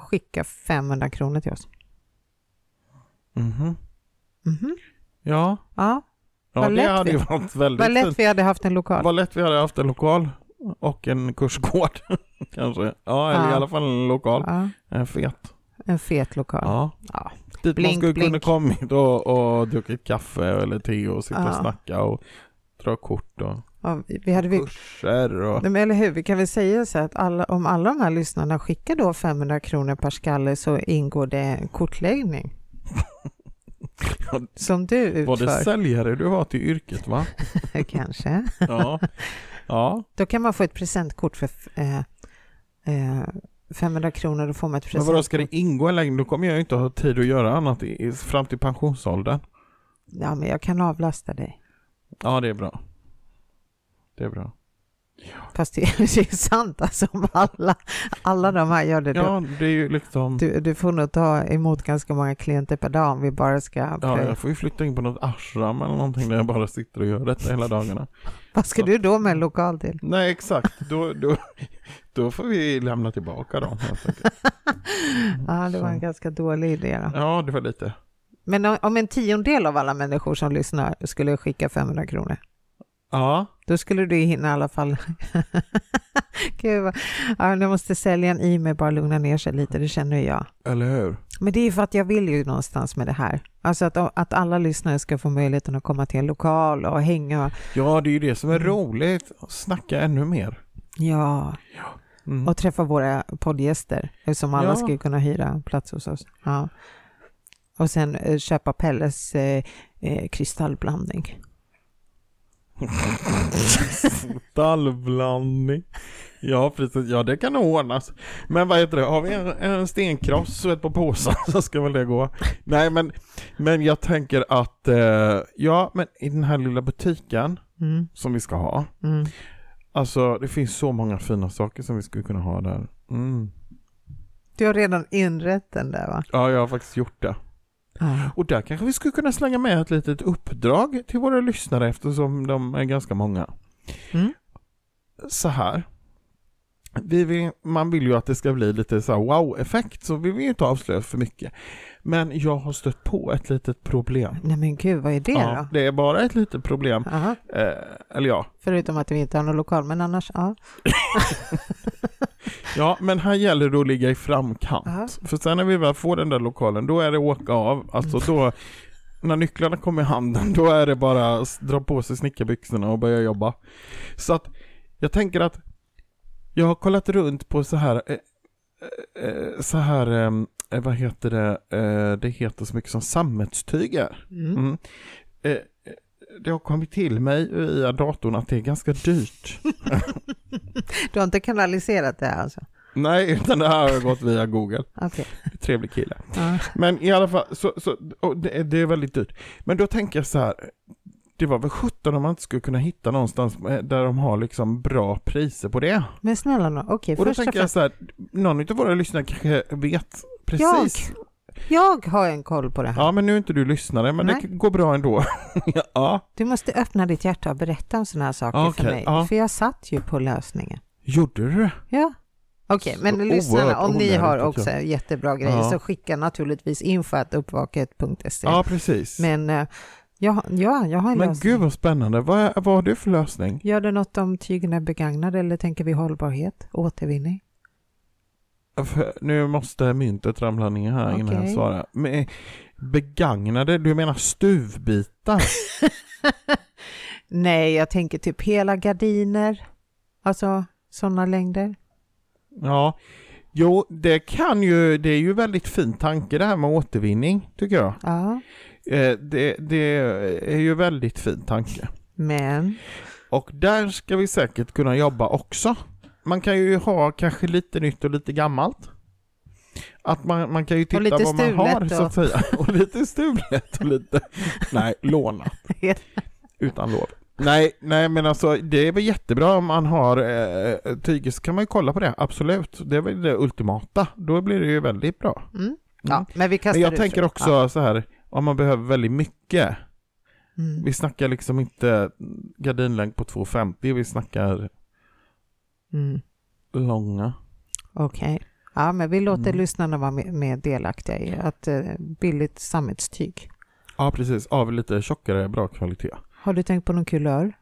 C: skicka 500 kronor till oss.
B: Mhm.
C: Mhm.
B: Ja,
C: Ja,
B: ja
C: Vad
B: det
C: lätt
B: hade ju
C: vi-
B: varit väldigt
C: vad
B: fint.
C: lätt vi hade haft en lokal.
B: Vad lätt vi hade haft en lokal och en kursgård kanske. Ja, eller i
C: Ja.
B: alla fall en lokal.
C: Ja,
B: En fet.
C: en fet lokal.
B: Ja.
C: Ja.
B: Dit man
C: Blink,
B: skulle kunna
C: blink.
B: kommit och, och druckit kaffe eller te och sitta och
C: Ja.
B: snacka och dra kort och
C: Ja, vi- vi hade vi...
B: kurser och
C: Nej, men eller hur, vi kan väl säga så att alla, om alla de här lyssnarna skickar då 500 kronor per skalle så ingår det en kortläggning.
B: Ja,
C: Som du
B: var det
C: utför,
B: säljare du var till yrket va?
C: kanske.
B: Ja. ja.
C: Då kan man få ett presentkort för eh, eh, 500 kronor. Då får man ett
B: Men
C: presentkort.
B: vadå, ska det ingå en längd? Då kommer jag inte ha tid att göra annat i, i, fram till pensionsåldern.
C: Ja, men jag kan avlasta dig.
B: Ja, det är bra. Det är bra.
C: Fast det är ju sant alltså om alla, alla de här gör det. Typ, då.
B: Ja, det är ju liksom...
C: Du, du får nog ta emot ganska många klienter per dag om vi bara ska...
B: Ja,
C: pröva.
B: jag får ju flytta in på något ashram eller någonting där jag bara sitter och gör detta hela dagarna.
C: Vad ska du då
B: Mm.
C: med en lokal till?
B: Nej, exakt. Då, då, då får vi lämna tillbaka dem helt enkelt. Mm.
C: Ja, det var en ganska dålig idé då.
B: Ja, det var lite.
C: Men om- om en tiondel av alla människor som lyssnar skulle skicka 500 kronor,
B: Ja,
C: då skulle du hinna i alla fall... Gud, vad... ja, nu måste säljaren i mig bara lugna ner sig lite, det känner ju jag.
B: eller hur?
C: Men det är ju för att jag vill ju någonstans med det här. Alltså att, att alla lyssnare ska få möjligheten att komma till en lokal och hänga.
B: Ja, det är ju det som är roligt. Att snacka ännu mer.
C: Ja,
B: Mm.
C: och träffa våra poddgäster eftersom alla
B: Ja.
C: skulle kunna hyra plats hos oss. Ja. Och sen eh, köpa Pelles eh, eh, kristallblandning.
B: Stallblandning. Ja, precis. Ja, det kan nog ordnas. Men vad heter det? Har vi en, en stenkross och ett par påsar så ska väl det gå. Nej, men, men jag tänker att eh, ja, men i den här lilla butiken
C: Mm,
B: som vi ska ha.
C: mm.
B: Alltså det finns så många fina saker som vi skulle kunna ha där. Mm.
C: Du har redan inrett den där va?
B: Ja, jag har faktiskt gjort det.
C: Ja.
B: Och där kanske vi skulle kunna slänga med ett litet uppdrag till våra lyssnare eftersom de är ganska många.
C: Mm.
B: Så här. Vi vill, man vill ju att det ska bli lite så här wow-effekt så vi vill ju inte avslöja för mycket. Men jag har stött på ett litet problem.
C: Nej men gud, vad är det
B: Ja,
C: då?
B: det är bara ett litet problem.
C: Aha.
B: Eh, eller ja,
C: Förutom att vi inte har någon lokal, men annars ja.
B: Ja, men här gäller det att ligga i framkant.
C: Aha.
B: För sen när vi väl får den där lokalen, då är det åka av. Alltså då, när nycklarna kommer i handen, då är det bara s- dra på sig snickarbyxorna och börja jobba. Så att jag tänker att jag har kollat runt på så här, eh, eh, eh, så här, eh, vad heter det, eh, det heter så mycket som sammetstyger.
C: Mm.
B: Mm. Eh, eh, det har kommit till mig via datorn att det är ganska dyrt.
C: Du har inte kanaliserat det här alltså?
B: Nej, utan det här har gått via Google.
C: Okej.
B: Trevlig kille.
C: Ja.
B: Men i alla fall, så, så, och det, det är väldigt dyrt. Men då tänker jag så här, det var väl sjutton om man inte skulle kunna hitta någonstans eh, där de har liksom bra priser på det.
C: Men snälla nån, okej,
B: Och då
C: först och
B: tänker jag
C: främst.
B: så här, någon av våra lyssnare kanske vet precis.
C: Jag har en koll på det här.
B: Ja, men nu är inte du lyssnare, men det
C: Nej.
B: går bra ändå. ja,
C: Du måste öppna ditt hjärta och berätta om sådana här saker för
B: Okej,
C: mig.
B: ja.
C: För jag satt ju på lösningen.
B: gjorde du det?
C: Ja. Okej,
B: Så
C: men lyssnarna,
B: oerhört
C: om ni har
B: onödigt,
C: också
B: tycker
C: jättebra grejer
B: Ja.
C: så skicka naturligtvis info.uppvaket.se.
B: Ja, precis. Men,
C: Men eh, jag, har- ja, jag har en lösning.
B: gud vad spännande. Vad, är- vad har du för lösning?
C: Gör det något om tygen är begagnade eller tänker vi hållbarhet, återvinning?
B: För Nu måste myntet ramla ner här innan jag
C: Okej.
B: svarar. Men, begagnade, du menar stuvbitar?
C: Nej, jag tänker typ hela gardiner, alltså sådana längder.
B: Ja, jo, det kan ju, det är ju väldigt fin tanke det här med återvinning, tycker jag.
C: Ja,
B: Eh, det, det är ju väldigt fin tanke.
C: men mm.
B: Och där ska vi säkert kunna jobba också. Man kan ju ha kanske lite nytt och lite gammalt. Att man, man kan ju titta
C: lite
B: vad man har
C: stulet
B: så att säga. Och lite stulet och lite, nej, lånat. Utan lov. Nej, nej men alltså det är väl jättebra om man har eh, tyger så kan man ju kolla på det, absolut. Det är väl det ultimata, då blir det ju väldigt bra.
C: Mm. Ja, men vi kastar
B: Men jag
C: ut
B: tänker
C: det.
B: också
C: Ja.
B: så här, om man behöver väldigt mycket.
C: Mm.
B: Vi snackar liksom inte gardinlängd på 2,50, vi snackar
C: Mm.
B: långa.
C: Okej. Ja, men vi låter
B: Mm.
C: lyssnarna vara med, med delaktiga i att eh, billigt sammetstyg.
B: Ja, precis. Av lite tjockare, bra kvalitet.
C: Har du tänkt på någon kulör?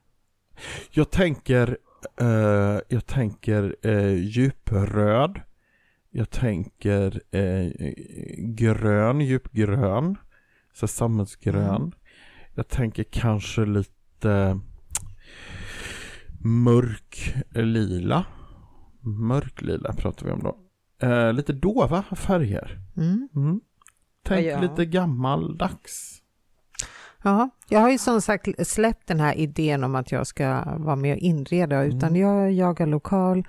B: Jag tänker, eh, jag tänker eh, djupröd. Jag tänker eh, grön, djupgrön. Så sammetsgrön.
C: Mm.
B: Jag tänker kanske lite mörk eh, lila. Mörk lila pratar vi om då. Eh, lite dova färger.
C: Mm.
B: Mm. Tänk
C: Ja.
B: lite gammaldags.
C: Ja, jag har ju som sagt släppt den här idén om att jag ska vara med och inreda, utan
B: Mm.
C: jag jagar lokal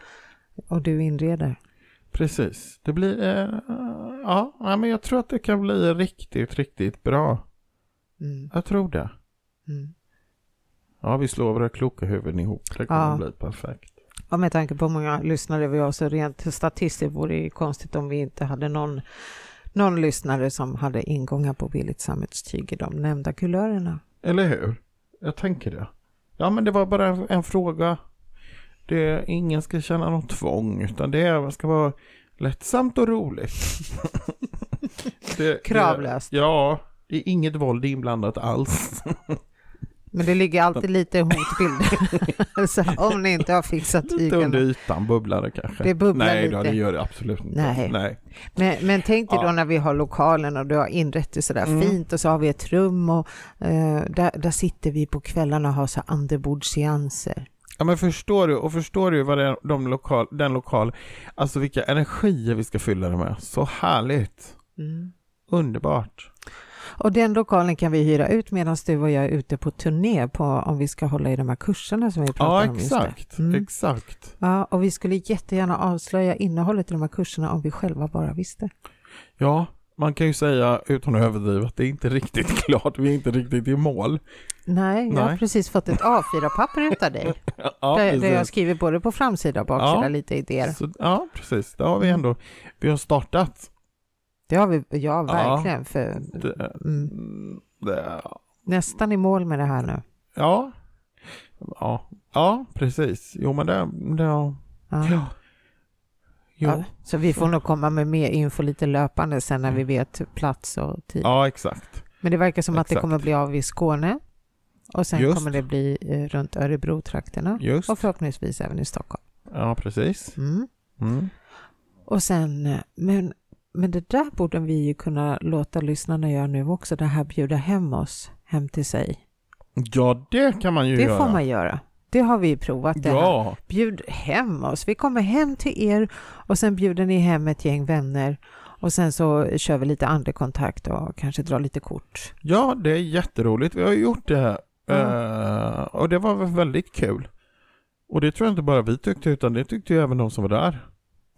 C: och du inreder.
B: Precis. Det blir... Eh, ja, ja, men jag tror att det kan bli riktigt, riktigt bra.
C: Mm.
B: Jag tror det.
C: Mm.
B: Ja, vi slår våra kloka huvuden ihop. Det kommer
C: Ja.
B: bli perfekt.
C: Och med tanke på hur många lyssnare vi har så rent statistiskt vore det ju konstigt om vi inte hade någon, någon lyssnare som hade ingångar på billigt sammetstyg i de nämnda kulörerna.
B: Eller hur? Jag tänker det. Ja, men det var bara en, en fråga. Det, ingen ska känna något tvång, utan det är- ska vara lättsamt och roligt. Det-
C: Kravlöst.
B: Det, ja, det är inget våld inblandat alls.
C: Men det ligger alltid lite hotbilder. så om ni inte har fixat
B: Lite under
C: tygerna.
B: ytan bubblar det kanske.
C: Det bubblar
B: Nej,
C: lite.
B: då, det gör det absolut inte.
C: Nej.
B: Nej.
C: Men, men tänk dig då
B: Ja.
C: när vi har lokalen och du har inrett det sådär
B: Mm.
C: fint och så har vi ett rum och eh, där, där sitter vi på kvällarna och har så här andebordsseanser.
B: Ja men förstår du, och förstår du vad det är, de lokal, den lokal, alltså vilka energier vi ska fylla det med. Så härligt,
C: Mm.
B: underbart.
C: Och den lokalen kan vi hyra ut medan du och jag är ute på turné på om vi ska hålla i de här kurserna som vi
B: Ja
C: pratade om just nu.
B: exakt,
C: Mm.
B: exakt.
C: Ja, och vi skulle jättegärna avslöja innehållet i de här kurserna om vi själva bara visste.
B: Ja, man kan ju säga utan att överdriva att det är inte riktigt klart, vi är inte riktigt i mål.
C: Nej, jag har
B: Nej.
C: precis fått ett A4-papper utav dig.
B: Ja,
C: där, där jag
B: precis.
C: skriver både på framsida och baksida
B: Ja.
C: lite idéer.
B: Så, ja, precis. Det har vi ändå. Vi har startat.
C: Det har vi, ja verkligen, för
B: Det,
C: mm,
B: det,
C: nästan i mål med det här nu.
B: ja. ja, ja, precis. Jo, men det, det ja.
C: Ja.
B: Jo.
C: Ja, så vi får nog komma med mer info lite löpande sen
B: Mm.
C: när vi vet plats och tid.
B: ja, exakt.
C: Men det verkar som att det
B: Exakt.
C: kommer bli av i Skåne och sen
B: Just.
C: kommer det bli eh, runt Örebro-trakterna
B: Just.
C: och förhoppningsvis även i Stockholm.
B: Ja, precis.
C: Mm.
B: Mm.
C: Och sen, eh, men, men det där borde vi ju kunna låta lyssnarna göra nu också, det här bjuda hem oss hem till sig.
B: Ja, det kan man ju
C: Det
B: göra.
C: får man göra. Det har vi ju provat. Det här.
B: Ja,
C: Bjud hem oss. Vi kommer hem till er och sen bjuder ni hem ett gäng vänner och sen så kör vi lite andekontakt och kanske drar lite kort.
B: ja, det är jätteroligt. Vi har ju gjort det här. Eh, och det var väl väldigt kul. Och det tror jag inte bara vi tyckte, utan det tyckte ju även de som var där.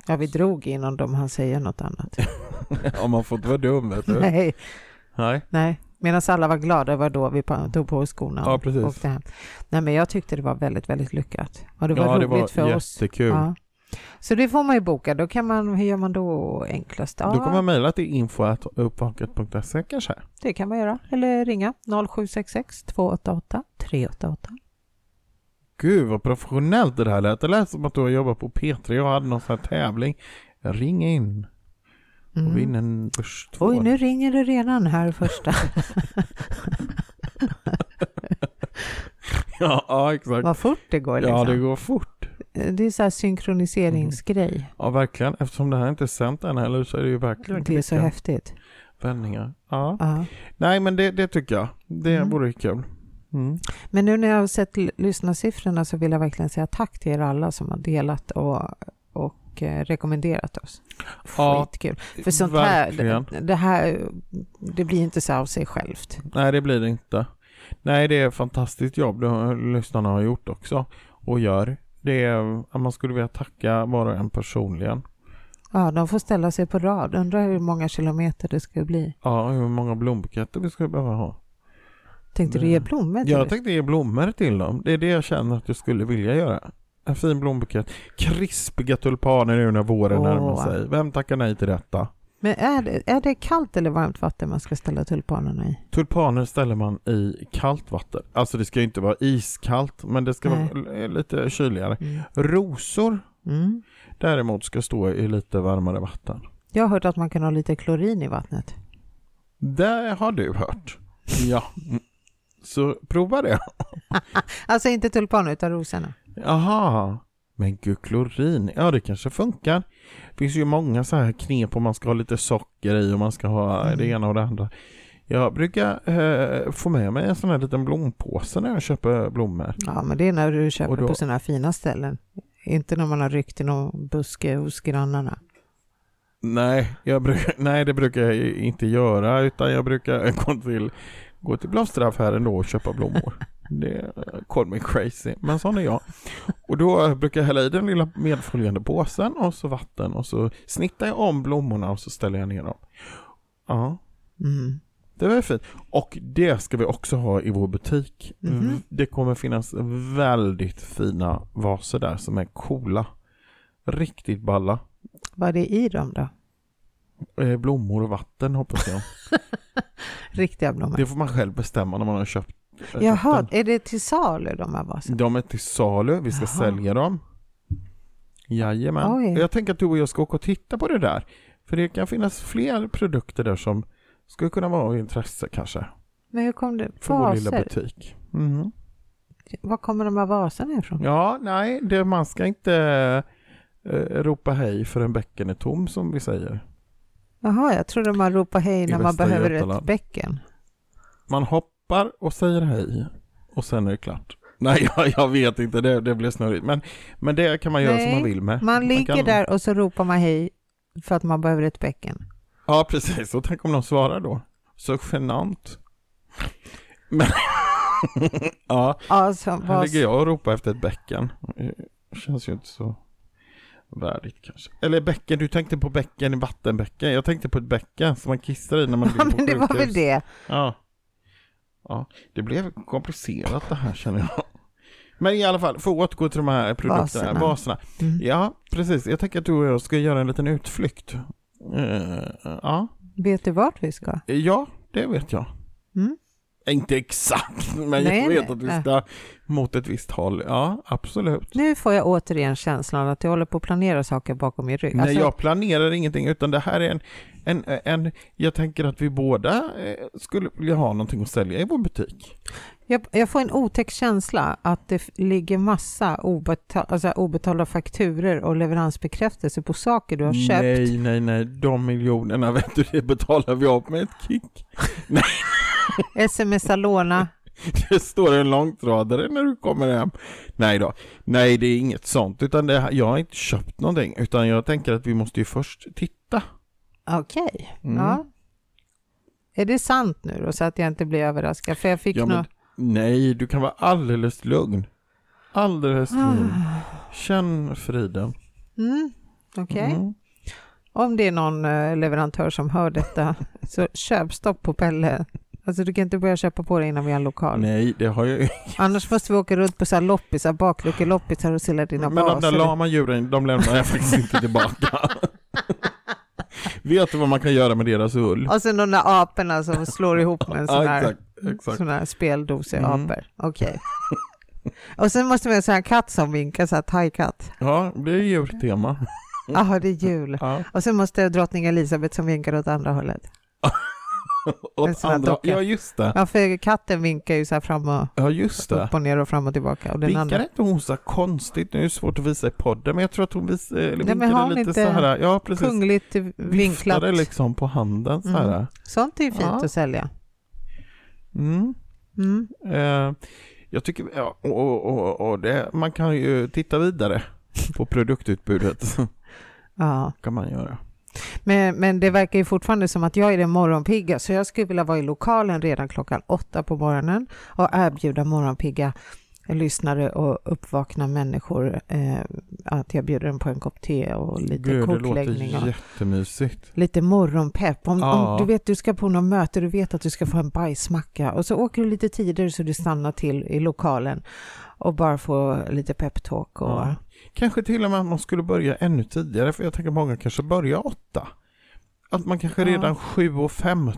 C: Ja, vi drog innan de han säger något annat.
B: Om man får inte vara dum, vet du.
C: nej,
B: Nej.
C: nej. Medan alla var glada var då vi pa- tog på oss skorna
B: Ja,
C: och
B: precis.
C: åkte hem. Nej, men jag tyckte det var väldigt, väldigt lyckat. Och det var
B: ja,
C: roligt
B: det var
C: för oss.
B: jättekul.
C: Ja. Så det får man ju boka. Då kan man, hur gör man då enklast? Ja,
B: Då kan man mejla till info.uppvaket.se kanske.
C: Det kan man göra. Eller ringa 0766 288 388.
B: Gud vad professionellt det här lät. Det lät som att du har jobbat på P3 och hade någon sån här tävling. Ring in och
C: Mm.
B: vinn en börs
C: Oj, nu ringer det redan här första.
B: Ja, ja, exakt.
C: Vad fort det går. Liksom.
B: Ja, det går Mm. fort.
C: det... är så här synkroniseringsgrej.
B: Ja, verkligen. Eftersom det här inte är sänt än heller så är det ju verkligen
C: Det är så
B: klicka.
C: häftigt.
B: vändningar. Ja.
C: Ja.
B: Nej, men det, det tycker jag. Det
C: Mm.
B: vore kul. Mm.
C: Men nu när jag har sett l- lyssnarsiffrorna så vill jag verkligen säga tack till er alla som har delat och, och eh, rekommenderat oss.
B: Ja,
C: Skitkul. För sånt här,
B: verkligen.
C: det, det här, det blir inte så här av sig självt.
B: Nej, det blir det inte. Nej, det är ett fantastiskt jobb de lyssnarna har gjort också och gör. Det är, man skulle vilja tacka var och en personligen.
C: Ja, de får ställa sig på rad. Undrar hur många kilometer det skulle bli.
B: Ja, hur många blombuketter vi skulle behöva ha.
C: Tänkte du
B: Nej.
C: ge blommor till
B: Jag tänkte ge blommor till dem. Det är det jag känner att jag skulle vilja göra. En fin blombukett. Krispiga tulpaner nu när våren
C: Åh.
B: närmar sig. Vem tackar nej till detta?
C: Men är det, är det kallt eller varmt vatten man ska ställa tulpanerna i?
B: Tulpaner ställer man i kallt vatten. Alltså det ska ju inte vara iskallt, men det ska
C: Nej.
B: vara l- eh, lite kyligare.
C: Mm.
B: Rosor
C: Mm.
B: däremot ska stå i lite varmare vatten.
C: Jag har hört att man kan ha lite klorin i vattnet.
B: Det har du hört. Ja. Så prova det.
C: Alltså inte tulpaner utan rosorna.
B: Aha. Men gud, klorin. Ja, det kanske funkar. Det finns ju många så här knep om man ska ha lite socker i och man ska ha det ena och det andra. Jag brukar eh, få med mig en sån här liten blompåse när jag köper blommor.
C: Ja, men det är när du köper
B: Och då-
C: på sådana här fina ställen. Inte när man har ryckt i någon buske hos grannarna.
B: Nej, jag bruk, nej, det brukar jag ju inte göra utan jag brukar gå till, gå till blomsteraffären då och köpa blommor. Det eh, call me crazy, men sån är jag. Och då brukar jag hälla i den lilla medföljande påsen och så vatten och så snittar jag om blommorna och så ställer jag ner dem. Ja,
C: Mm.
B: det var ju fint. Och det ska vi också ha i vår butik. Mm,
C: Mhm.
B: Det kommer finnas väldigt fina vaser där som är coola. Riktigt balla.
C: Vad är det i dem då?
B: Eh, Blommor och vatten hoppas jag.
C: Riktiga blommor?
B: Det får man själv bestämma när man har köpt. eh,
C: Jaha,
B: köpt
C: är det till salu de här
B: dem.
C: vaserna?
B: De är till salu, vi ska
C: Jaha.
B: sälja dem. Jajamän.
C: Oj.
B: Jag tänker att du och jag ska åka och titta på det där. För det kan finnas fler produkter där som skulle kunna vara av intresse kanske.
C: Men hur kom det?
B: För vår lilla
C: Vaser?
B: butik. Mhm.
C: Var kommer de här vaserna ifrån?
B: Ja, nej, det, man ska inte eh, ropa hej förrän bäcken är tom som vi säger.
C: Jaha, jag trodde man ropar hej när man
B: Västra
C: behöver ett
B: Götaland.
C: bäcken.
B: Man hoppar och säger hej och sen är det klart. Nej, jag, jag vet inte, det, det blev snurrigt. Men, men det kan man göra som
C: Nej,
B: man vill med.
C: Man ligger
B: kan-
C: där och så ropar man hej för att man behöver ett bäcken.
B: Ja, precis. Och tänk om de svarar då. Så genant. Men... ja,
C: Alltså,
B: här
C: vad...
B: ligger jag och ropar efter ett bäcken. Det känns ju inte så värdigt kanske. Eller bäcken, du tänkte på bäcken i vattenbäcken. Jag tänkte på ett bäcken som man kissar i när man ligger på
C: Ja, men det var väl
B: sjukhus.
C: det.
B: Ja. Ja, det blev komplicerat det här känner jag. Men i alla fall, för att återgå till de här produkterna,
C: Vaserna.
B: vaserna.
C: Mm.
B: Ja, precis. Jag tänker att du och jag ska göra en liten utflykt. Eh, ja.
C: Vet du vart vi ska?
B: Ja, det vet jag.
C: Mm.
B: Inte exakt, men
C: Nej,
B: jag vet
C: nej,
B: att vi
C: nej.
B: ska mot ett visst håll. Ja, absolut.
C: Nu får jag återigen känslan att jag håller på att planera saker bakom min rygg. Alltså,
B: Nej, jag planerar ingenting, utan det här är en, en, en... Jag tänker att vi båda eh, skulle vilja ha någonting att sälja i vår butik.
C: jag, jag får en otäck känsla att det f- ligger massa obetal, alltså obetalda fakturer och leveransbekräftelse på saker du har köpt.
B: Nej, nej, nej. De miljonerna, vet du, det betalar vi av med ett kick.
C: Smsa låna.
B: Det står en långtradare när du kommer hem. Nej då. Nej, det är inget sånt, utan det, jag har inte köpt någonting, utan jag tänker att vi måste ju först titta.
C: Okej.
B: Mm.
C: Ja. Är det sant nu då, så att jag inte blir överraskad? För jag fick
B: Ja,
C: ja,
B: men- Nej, du kan vara alldeles lugn.
C: Ah.
B: Alldeles lugn. Känn friden.
C: Mm, Okej.
B: Mm.
C: Om det är någon eh, leverantör som hör detta, så köpstopp på Pelle. Alltså du kan inte börja köpa på det innan vi har en lokal.
B: Nej, det har jag
C: Annars måste vi åka runt på så här loppisar, bakluckeloppisar och sälja dina
B: Men de där
C: baser.
B: lama djuren, de lämnar jag faktiskt inte tillbaka. Vet du vad man kan göra med deras ull?
C: Och sen de där aporna som slår ihop med en sån
B: Ja,
C: här,
B: exakt, exakt.
C: sån här speldos i
B: Mm.
C: apor. Okej. Och sen måste vi ha en sån här katt som vinkar, så här thai-katt.
B: Ja, det är djurtema. Mm.
C: Jaha, det är jul.
B: Ja.
C: Och sen måste drottning Elisabeth som vinkar åt andra hållet. En
B: Åt
C: sån här
B: andra,
C: docka.
B: ja, just det.
C: Ja, för katten vinkar ju så här fram och
B: Ja, just det.
C: upp och ner och fram och tillbaka. Och den
B: Vinkar
C: andra,
B: inte hon så här konstigt? Nu är det svårt att visa i podden, men jag tror att hon vis, eller
C: men har
B: vinkade
C: hon
B: lite
C: inte
B: så här. Ja, precis.
C: kungligt vinklat.
B: Viftade liksom på handen så
C: Mm.
B: här.
C: Sånt är ju fint
B: Ja.
C: att sälja.
B: Mm.
C: Mm.
B: Eh, jag tycker, ja, och, och, och, och det, man kan ju titta vidare på produktutbudet.
C: Ja.
B: kan man göra.
C: Men, men det verkar ju fortfarande som att jag är den morgonpigga, så jag skulle vilja vara i lokalen redan klockan åtta på morgonen och erbjuda morgonpigga lyssnare och uppvakna människor. Eh, att jag bjuder dem på en kopp te och lite
B: Gud, det
C: kortläggning. Och
B: låter jättemysigt.
C: lite morgonpepp. Om,
B: Ja.
C: om du vet du ska på något möte, du vet att du ska få en bajsmacka och så åker du lite tidigare så du stannar till i lokalen och bara får lite peptalk. Och...
B: Ja. Kanske till och med att man skulle börja ännu tidigare, för jag tänker många kanske börjar åtta. Att man kanske
C: Ja.
B: redan 7.15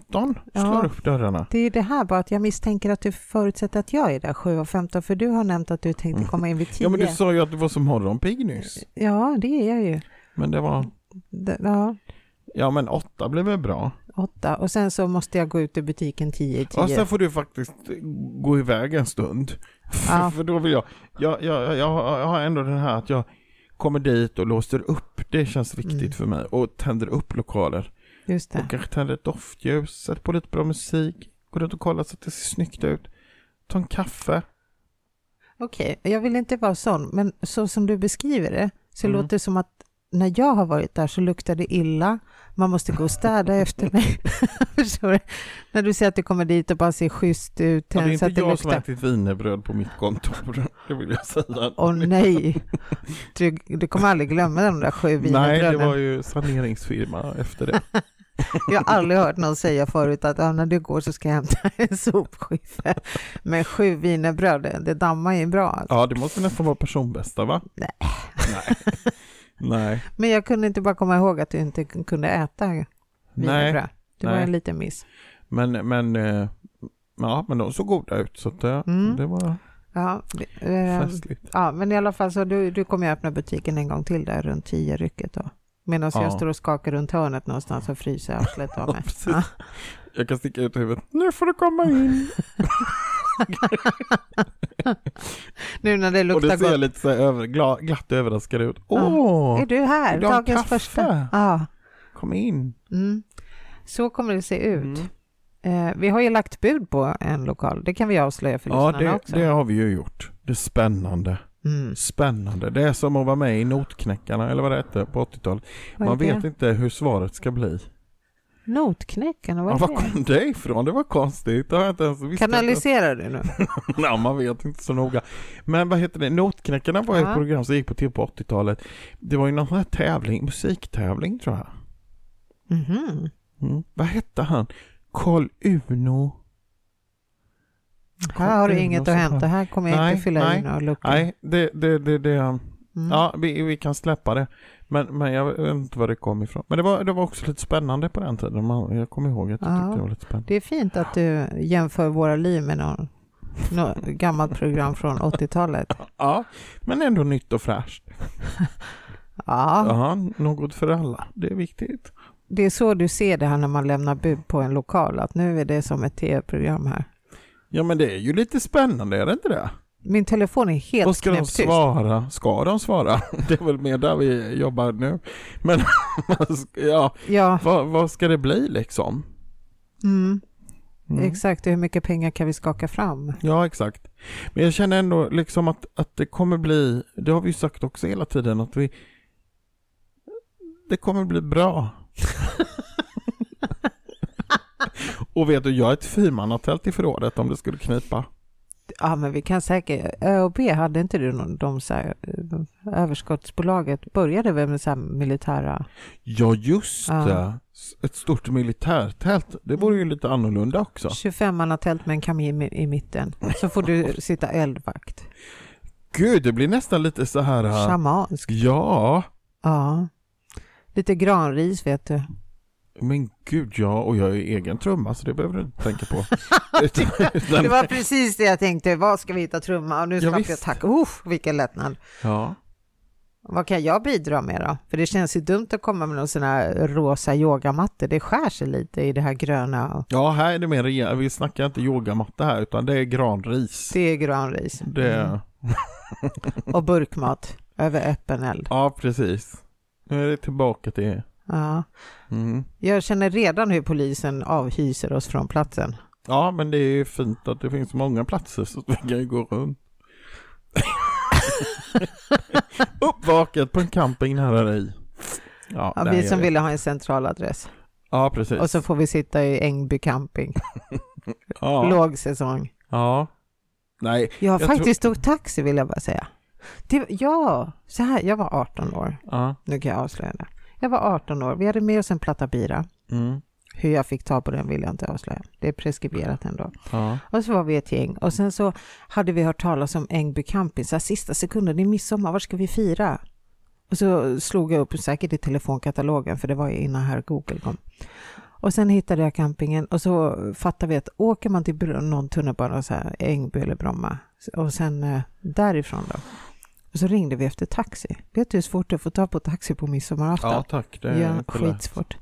B: slår
C: Ja.
B: upp dörrarna.
C: Det är det här bara att jag misstänker att du förutsätter att jag är där 7.15 för du har nämnt att du tänkte komma in vid 10.
B: Mm. Ja men du sa ju att du var som morgonpigg nyss.
C: Ja, det är jag ju.
B: Men det var,
C: D- Ja,
B: ja men åtta blev väl bra.
C: åtta. Och sen så måste jag gå ut ur butiken 10 i 10.
B: Ja, sen får du faktiskt gå iväg en stund.
C: Ja.
B: För då vill jag, jag, jag, jag, jag har- jag har ändå den här att jag kommer dit och låser upp, det känns viktigt
C: Mm.
B: för mig. Och tänder upp lokaler.
C: Just det.
B: Och kanske tänder ett doftljus, sätter på lite bra musik, går runt och kollar så att det ser snyggt ut. Ta en kaffe.
C: Okej, jag vill inte vara sån, men så som du beskriver det så
B: Mm.
C: låter det som att när jag har varit där så luktar det illa, man måste gå och städa efter mig. Förstår du? När du säger att du kommer dit och bara ser schysst ut,
B: Ja, det är
C: så
B: inte
C: att det
B: jag som har
C: luktar.
B: ätit wienerbröd på mitt kontor, det vill jag säga.
C: Åh nej, du, du kommer aldrig glömma de där sju
B: Nej, det var
C: wienerbröden.
B: ju saneringsfirma efter det.
C: Jag har aldrig hört någon säga förut att ah, när du går så ska jag hämta en sopskiva. Men sju wienerbröd, det- det dammar ju bra. Alltså.
B: Ja, det måste nästan vara personbästa va?
C: Nej.
B: Nej. Nej.
C: Men jag kunde inte bara komma ihåg att du inte kunde äta
B: Nej.
C: wienerbröd. Det var
B: nej.
C: en liten miss.
B: Men, men, eh, ja, men de såg goda ut så att det,
C: Mm.
B: det var
C: Ja, det- eh,
B: festligt.
C: ja, men i alla fall så du, du kommer ju öppna butiken en gång till där runt tio rycket då. Medan
B: Ja.
C: jag står och skakar runt hörnet någonstans och fryser arslet av mig.
B: Precis. Jag kan sticka ut huvudet. Nu får du komma in.
C: Nu när det
B: Och
C: luktar
B: det ser jag
C: gott.
B: lite så här över, gla, glatt överraskad ut. Åh,
C: Är du här?
B: Vill du ha en
C: Dagens
B: kaffe?
C: första? Ja.
B: kom in.
C: Mm. Så kommer det se ut.
B: Mm.
C: Eh, vi har ju lagt bud på en lokal. Det kan vi avslöja för
B: Ja,
C: lyssnarna
B: det,
C: också.
B: det har vi ju gjort. Det är spännande.
C: Mm.
B: Spännande. Det är som att vara med i Notknäckarna, eller vad det hette, på 80-talet.
C: Vad är
B: Man
C: det?
B: vet inte hur svaret ska bli.
C: Notknäckarna,
B: Ja,
C: vad är
B: var
C: det?
B: kom det ifrån? Det var konstigt. Det har jag inte ens visst.
C: Kanaliserar du nu?
B: Nej, man vet inte så noga. Men vad heter det? Notknäckarna var
C: Ja.
B: ett program som gick på tv på 80-talet. Det var ju någon sån här tävling, musiktävling tror jag.
C: Mhm.
B: Mm. Vad hette han? Karl Uno?
C: Här har du
B: Uno
C: inget att
B: som
C: hämta.
B: han-
C: Här kommer jag
B: Nej,
C: inte fylla
B: nej,
C: i några luckor.
B: Nej, det, det, det, det.
C: Mm.
B: Ja, vi, vi kan släppa det. Men, men jag vet inte var det kom ifrån. Men det var, det var också lite spännande på den tiden. Man, jag kommer ihåg att jag
C: Ja.
B: tyckte det var lite spännande.
C: Det är fint att du jämför våra liv med någon, något gammalt program från 80-talet.
B: Ja, men ändå nytt och fräscht.
C: Ja,
B: Ja, något för alla. Det är viktigt.
C: det är så du ser det här när man lämnar bud på en lokal, att nu är det som ett tv-program här.
B: Ja men det är ju lite spännande, är det inte det?
C: Min telefon är
B: Och
C: helt
B: ska de
C: knäpptyst.
B: svara? Ska de svara? Det är väl mer där vi jobbar nu. Men ja,
C: Ja,
B: vad, vad ska det bli liksom?
C: mm,
B: Mm.
C: exakt. Hur mycket pengar kan vi skaka fram?
B: Ja, exakt. Men jag känner ändå liksom att, att det kommer bli, det har vi ju sagt också hela tiden, att vi det kommer bli bra. Och vet du, jag är ett fyrmannatält i förrådet om det skulle knipa.
C: Ja, men vi kan säkert... ÖoB, hade inte du någon, de så här, eh, överskottsbolaget började väl med så här militära...
B: Ja, just
C: Ja.
B: det. S- Ett stort militärtält. Det vore ju lite annorlunda också.
C: 25-mannatält med en kamin i, i mitten. Så får du sitta eldvakt.
B: Gud, det blir nästan lite så här. äh,
C: Schamansk.
B: Ja,
C: Ja. Lite granris vet du.
B: men gud ja, och jag är egen trumma så det behöver du inte tänka på. Utan-
C: Det
B: utan-
C: var precis det jag tänkte. Var ska vi hitta trumma? Och nu
B: Ja,
C: slapp jag
B: visst.
C: tack. Usch, vilken lättnad.
B: ja.
C: Vad kan jag bidra med då? För det känns ju dumt att komma med någon sån här rosa yogamattor. Det skär sig lite i det här gröna. och-
B: ja, här är det mer rejält. Vi snackar inte yogamatta här utan det är granris.
C: Det är granris.
B: Det,
C: Mm. Och burkmat över öppen eld.
B: Ja, precis. Nu är det tillbaka till...
C: Ja.
B: Mm.
C: Jag känner redan hur polisen avhyser oss från platsen.
B: Ja, men det är ju fint att det finns många platser så att vi kan ju gå runt. Uppvaket på en camping nära dig. Ja,
C: Ja,
B: nej,
C: vi
B: jag
C: som
B: vet.
C: ville ha en central adress.
B: Ja, precis.
C: Och så får vi sitta i Ängby camping.
B: ja.
C: Låg säsong.
B: ja. Nej,
C: Jag har
B: Jag tror-
C: faktiskt tog taxi vill jag bara säga. Det, ja, så här, jag var 18 år.
B: ja.
C: Nu kan jag avslöja det. Jag var 18 år. Vi hade med oss en platta bira.
B: Mm.
C: Hur jag fick ta på den vill jag inte avslöja. Det är preskriberat ändå.
B: Ja.
C: Och så var vi ett gäng och sen så hade vi hört talas om Ängby camping. Så här, sista sekunden, det är midsommar, var ska vi fira? Och så slog jag upp säkert i telefonkatalogen för det var ju innan här Google kom. Och sen hittade jag campingen och så fattade vi att åker man till Br- någon tunnelbana, så här, Ängby eller Bromma, och sen eh, därifrån då. Och så ringde vi efter taxi. Vet du hur svårt det är att få tag på taxi på midsommarafton?
B: ja, tack. Det är
C: Ja,
B: inte lätt.
C: skitsvårt.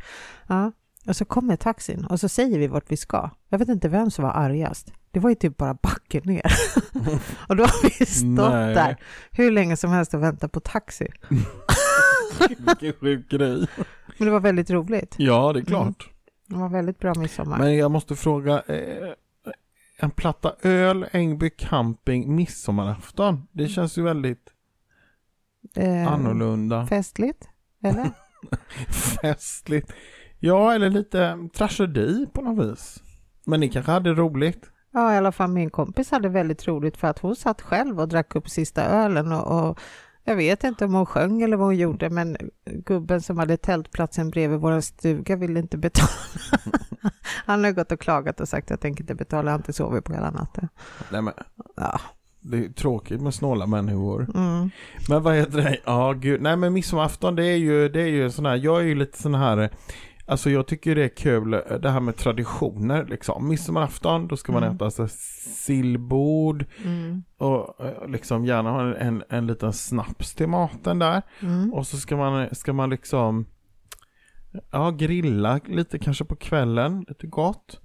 C: Ja. Och så kommer taxin och så säger vi vart vi ska. Jag vet inte vem som var argast. Det var ju typ bara backen ner. och då har vi stått
B: Nej.
C: där hur länge som helst och väntat på taxi.
B: Vilken sjuk grej.
C: Men det var väldigt roligt.
B: Ja, det är klart.
C: Det var väldigt bra midsommar.
B: Men jag måste fråga. Eh, en platta öl, Ängby camping, midsommarafton. Det känns ju väldigt
C: Eh,
B: annorlunda.
C: Festligt, eller?
B: Festligt. Ja, eller lite mm, tragedi på något vis. Men ni kanske hade roligt.
C: ja, i alla fall min kompis hade väldigt roligt för att hon satt själv och drack upp sista ölen och, och jag vet inte om hon sjöng eller vad hon gjorde, men gubben som hade tältplatsen bredvid vår stuga ville inte betala. Han har gått och klagat och sagt jag tänker inte betala, jag har inte sovit på hela natten.
B: Nej, men,
C: Ja.
B: det är ju tråkigt med snåla människor.
C: Mm.
B: Men vad heter det? Ja, gud. Nej, men midsommarafton det är ju, det är ju sån här, jag är ju lite sån här, eh, alltså jag tycker det är kul eh, det här med traditioner liksom. Midsommarafton, då ska man
C: Mm.
B: äta så här sillbord
C: Mm.
B: och eh, liksom gärna ha en, en, en liten snaps till maten där.
C: Mm.
B: Och så ska man, ska man liksom, ja grilla lite kanske på kvällen, lite gott.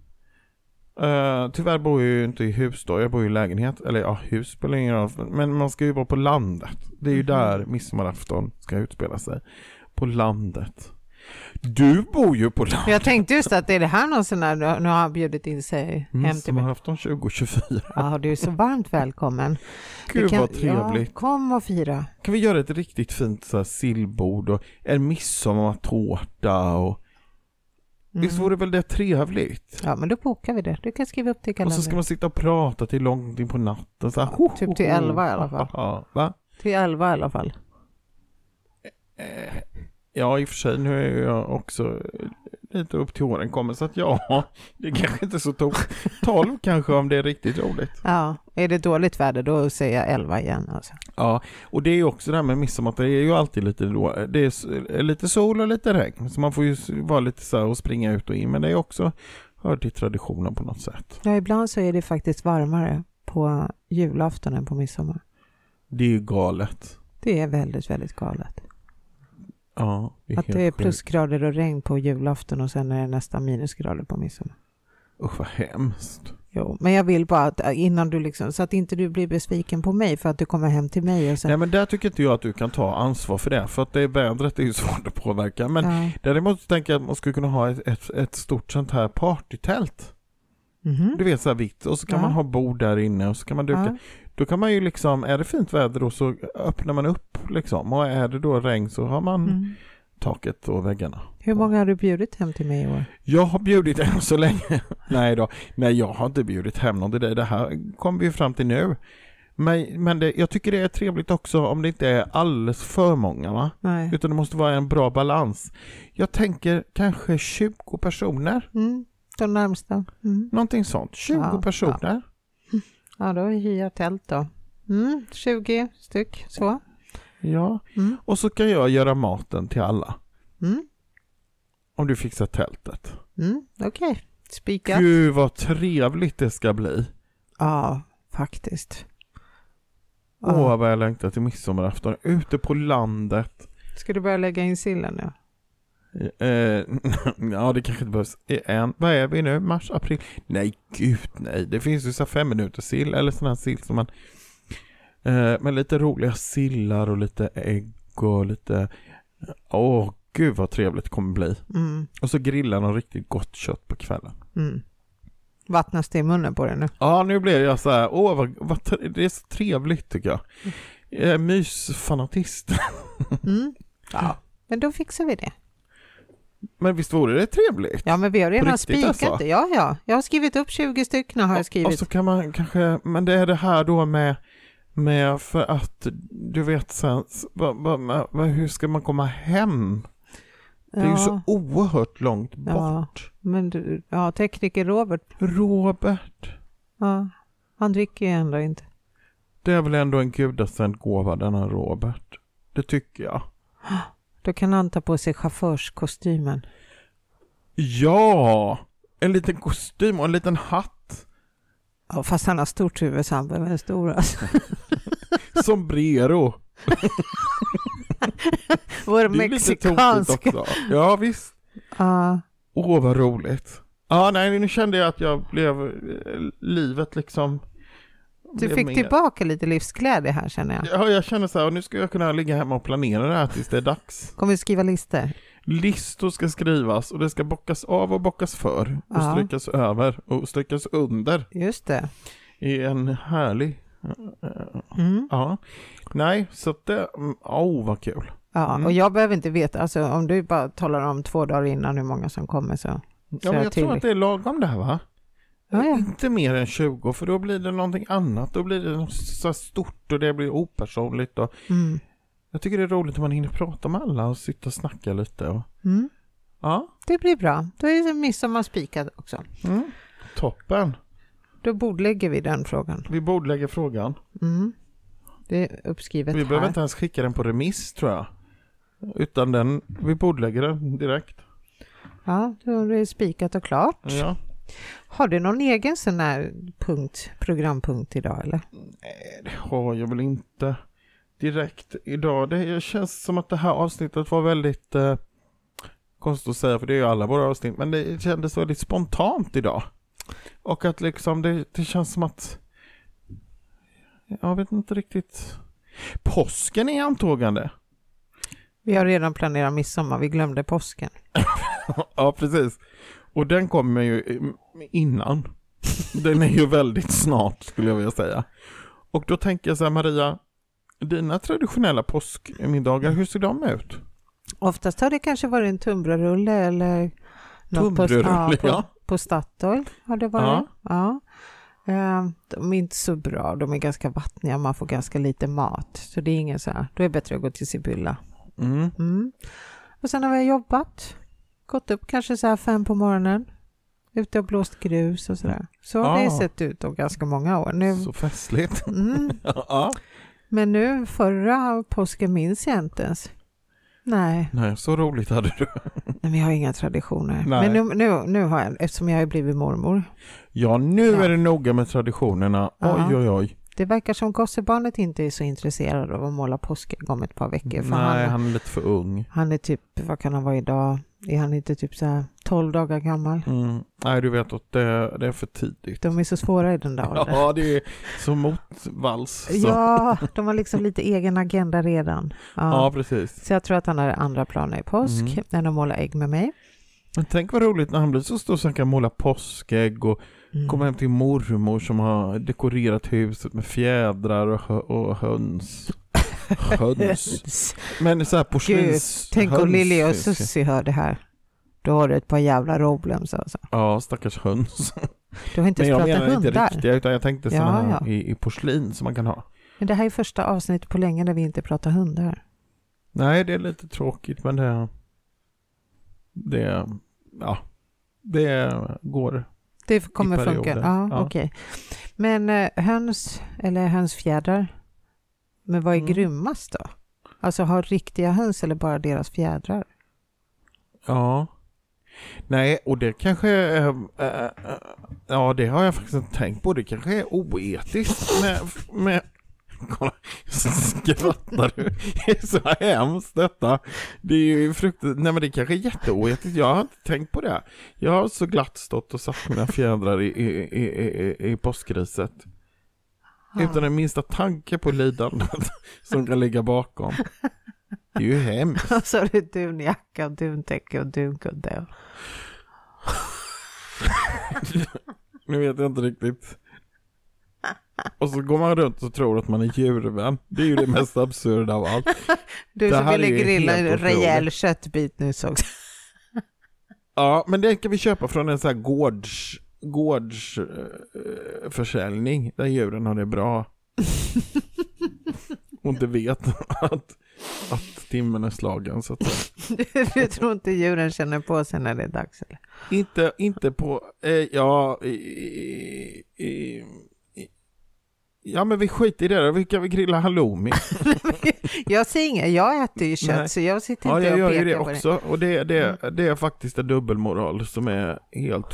B: Eh, tyvärr bor jag ju inte i hus då, jag bor ju i lägenhet. Eller ja, hus spelar ingen roll. Men man ska ju vara på landet. Det är ju
C: Mhm.
B: där midsommarafton ska utspela sig. På landet. Du bor ju på landet.
C: Jag tänkte just att är det här någon sån där, nu har han bjudit in sig
B: Mm,
C: hem till mig.
B: Midsommarafton 2024.
C: Ja, du är så varmt välkommen. Du
B: Gud
C: kan-
B: vad trevligt.
C: Ja, kom och fira.
B: Kan vi göra ett riktigt fint så här, sillbord och en midsommartårta och
C: Mm.
B: Visst vore väl det trevligt?
C: Ja, men då bokar vi det. Du kan skriva upp till
B: Och
C: kalendern.
B: så ska man sitta och prata till långt in på natten så här, ho,
C: typ
B: ho,
C: till
B: ho.
C: elva i alla fall.
B: Ja, va?
C: Till elva i alla fall.
B: Ja, i och för sig, nu är jag också lite upp till åren kommer, så att ja, det kanske inte är så tokigt. 12 kanske om det är riktigt roligt.
C: Ja, är det dåligt väder då säger jag elva igen. Alltså.
B: Ja, och det är ju också det här med midsommar, att det är ju alltid lite då, det är s- lite sol och lite regn, så man får ju s- vara lite så här och springa ut och in, men det är också hör till traditionen på något sätt.
C: Ja, ibland så är det faktiskt varmare på julafton än på midsommar.
B: Det är ju galet.
C: Det är väldigt, väldigt galet.
B: Ja, det är
C: Att
B: helt
C: det är
B: sjukt.
C: plusgrader och regn på julafton och sen är det nästan minusgrader på midsommar.
B: Usch vad hemskt.
C: Jo, men jag vill bara att innan du liksom, så att inte du blir besviken på mig för att du kommer hem till mig och sen...
B: Nej men där tycker inte jag att du kan ta ansvar för det, för att det är vädret är ju svårt att påverka, men
C: Ja.
B: Däremot så tänker jag att man skulle kunna ha ett, ett, ett stort sånt här partytält.
C: Mhm.
B: Du vet så här vitt och så kan
C: Ja.
B: man ha bord där inne och så kan man duka.
C: Ja.
B: Då kan man ju liksom, är det fint väder då så öppnar man upp liksom och är det då regn så har man
C: Mm.
B: taket och väggarna.
C: Hur många har du bjudit hem till mig i år?
B: Jag har bjudit än så länge. Nej då, nej jag har inte bjudit hem någon till dig. Det här kom vi ju fram till nu. Men, men det, jag tycker det är trevligt också om det inte är alldeles för många va?
C: Nej.
B: Utan det måste vara en bra balans. Jag tänker kanske 20 personer.
C: Mm. De närmsta. Mm.
B: Någonting sånt. 20
C: Ja,
B: personer.
C: Ja, då hyr jag tält då. Mm, 20 styck så.
B: Ja.
C: Mm.
B: Och så kan jag göra maten till alla.
C: Mm.
B: Om du fixar tältet.
C: Mm. Okej, spikat.
B: Gud vad trevligt det ska bli.
C: Ja, faktiskt.
B: Åh
C: Ja.
B: vad jag längtar till midsommarafton. Ute på landet.
C: Ska du börja lägga in sillen nu?
B: Eh, ja det kanske inte behövs än. Vad är vi nu? Mars, april? Nej gud nej. Det finns ju så här fem minuter sill eller sån här sill som man eh, med lite roliga sillar och lite ägg och lite Åh gud vad trevligt det kommer bli.
C: Mm.
B: Och så grillar de riktigt gott kött på kvällen.
C: Mm. Vattnas det i munnen på dig nu?
B: Ja, nu blev jag så här, åh vad, vad tre- det är så trevligt tycker jag. Jag är mysfanatist.
C: Mm. Ja. Men då fixar vi det.
B: Men visst vore det trevligt?
C: Ja, men vi har redan
B: riktigt,
C: spikat
B: alltså?
C: det. Ja, ja. Jag har skrivit upp 20 stycken har jag
B: Och
C: skrivit.
B: så kan man kanske, men det är det här då med, med för att du vet sen, s- vad- vad- vad- vad- hur ska man komma hem? Det är ju så
C: ja,
B: oerhört långt
C: Ja.
B: bort.
C: men du, ja, tekniker Robert,
B: Robert,
C: ja, han dricker ju ändå inte.
B: det är väl ändå en gudasänd gåva denna Robert. Det tycker jag.
C: Då kan han ta på sig chaufförskostymen.
B: Ja! En liten kostym och en liten hatt.
C: Ja, fast han har stort huvud så han behöver en stor alltså.
B: Sombrero.
C: Vår
B: Det är ju lite tokigt
C: mexikansk.
B: också. Ja, visst.
C: Ja,
B: Åh, vad roligt. Ja, nej, nu kände jag att jag blev, eh, livet liksom.
C: du
B: blev
C: fick
B: mer-
C: tillbaka lite livsglädje här känner jag.
B: Ja, jag känner så här, nu ska jag kunna ligga hemma och planera det här tills det är dags.
C: Kommer du skriva listor?
B: Listor ska skrivas och det ska bockas av och bockas för och
C: Ja.
B: strykas över och strykas under
C: Just det.
B: i en härlig... eh,
C: Mm.
B: Ja. Nej, så att det... mm, Åh, vad kul.
C: Ja,
B: Mm.
C: och jag behöver inte veta, alltså om du bara talar om två dagar innan hur många som kommer så.
B: Ja, men
C: jag
B: jag tror
C: till-
B: att det är lagom det här, va?
C: Ja, ja.
B: Inte mer än 20, för då blir det någonting annat. Då blir det något så här stort och det blir opersonligt. Och
C: Mm.
B: jag tycker det är roligt om man hinner prata med alla och sitta och snacka lite. Och...
C: Mm.
B: Ja,
C: Det blir bra. Då är det midsommar spikad också.
B: toppen.
C: Då bordlägger vi den frågan.
B: Vi bordlägger frågan.
C: Mm. Det är uppskrivet
B: Vi behöver
C: här.
B: inte ens skicka den på remiss tror jag. Utan den, vi bordlägger den direkt.
C: Ja, då är det spikat och klart.
B: Ja.
C: Har du någon egen sån här punkt, programpunkt idag eller?
B: Nej, det har jag väl inte direkt idag. Det känns som att det här avsnittet var väldigt eh, konstigt att säga för det är ju alla våra avsnitt. Men det kändes väldigt spontant idag. Och att liksom det, det känns som att jag vet inte riktigt. Påsken är antågande.
C: Vi har redan planerat midsommar, vi glömde påsken.
B: Ja, precis. Och den kommer ju eh, innan. Den är ju väldigt snart skulle jag vilja säga. Och då tänker jag så här Maria, dina traditionella påskmiddagar, hur ser de ut?
C: Oftast har det kanske varit en tunnbrödsrulle eller något på,
B: Tunnbrödsrulle,
C: ja, på,
B: ja.
C: på Statoil har det varit. Ja. Eh, De är inte så bra, de är ganska vattniga, man får ganska lite mat. Så det är ingen så här, då är det bättre att gå till Sibylla.
B: Mm.
C: Mm. Och sen har jag jobbat, gått upp kanske så här fem på morgonen, ute och blåst grus och sådär. Så har det
B: Ah.
C: sett ut då ganska många år. Nu,
B: Så festligt.
C: mm.
B: ja.
C: Men nu förra påsken minns jag inte ens. Nej,
B: Nej, så roligt hade du.
C: nej, men jag har inga traditioner.
B: Nej.
C: Men nu, nu, nu har jag, eftersom jag har blivit mormor.
B: Ja, nu
C: Ja.
B: är det noga med traditionerna.
C: Ja.
B: Oj, oj, oj.
C: Det verkar som gossebarnet inte är så intresserad av att måla påskägg om ett par veckor. För
B: Nej,
C: han,
B: han är lite för ung.
C: han är typ, vad kan han vara idag? Är han inte typ så här 12 dagar gammal?
B: Mm. Nej, du vet att det, det är för tidigt.
C: De är så svåra i den där åldern.
B: Ja, det är som motvalls. Så.
C: Ja, de har liksom lite egen agenda redan. Ja.
B: ja, precis.
C: Så jag tror att han har andra planer i påsk
B: Mm.
C: än att måla ägg med mig.
B: Men tänk vad roligt när han blir så stor så han kan måla påskägg och
C: Mm.
B: komma hem till mormor som har dekorerat huset med fjädrar och, hö- och höns. Höns. Men så här porslins.
C: Tänk om
B: höns
C: Lili och
B: finns ju.
C: Susie hör det här. Då har du ett par jävla Roblems alltså.
B: Ja, stackars höns.
C: Du har inte
B: Men jag
C: ens pratat
B: menar inte
C: hundar.
B: riktiga utan jag tänkte
C: Ja,
B: sådana
C: ja.
B: I, i porslin som man kan ha.
C: Men det här är första avsnittet på länge där vi inte pratar hundar.
B: Nej, det är lite tråkigt men det... Det... Ja. Det går.
C: Det kommer funka.
B: perioder.
C: Ja,
B: Ja.
C: okej. Men eh, höns eller hönsfjädrar. Men vad är
B: Mm.
C: grymmast då? Alltså har riktiga höns eller bara deras fjädrar?
B: Ja. Nej, och det kanske... Äh, äh, ja, det har jag faktiskt inte tänkt på. Det kanske är oetiskt med... med Kolla, skrattar du? Det är så hemskt detta. Det är ju fruktansvärt. Nej men det kanske är jätteoetiskt. Jag har inte tänkt på det. Jag har så glatt stått och satt mina fjädrar i, i, i, i, i- i påskriset.
C: Ja.
B: Utan den minsta tanke på lidandet som kan ligga bakom. Det är ju hemskt.
C: Och så har du dunjacka och duntäcke och dunkudde.
B: Nu vet jag inte riktigt. Och så går man runt och tror att man är djurvän. Det är ju det mest absurda av allt.
C: Du
B: Det
C: som
B: här är
C: ville
B: ju
C: grilla en
B: helt
C: rejäl
B: otroligt.
C: köttbit nu så också.
B: Ja, men den kan vi köpa från en sån här gårds, gårdsförsäljning där djuren har det bra. Och inte vet att, att timmen är slagen. Så att, säga.
C: du tror inte djuren känner på sig när det är dags? Eller?
B: inte, inte på, eh, ja, i, i, i, i- ja men vi skiter i det då. Vi kan väl grilla halloumi.
C: Jag ser inga, jag äter ju kött
B: Nej.
C: så jag sitter
B: Ja,
C: inte
B: jag
C: och
B: gör
C: pekar
B: ju det
C: på det. Mm.
B: också. Och det, det, det är faktiskt en dubbelmoral som är helt...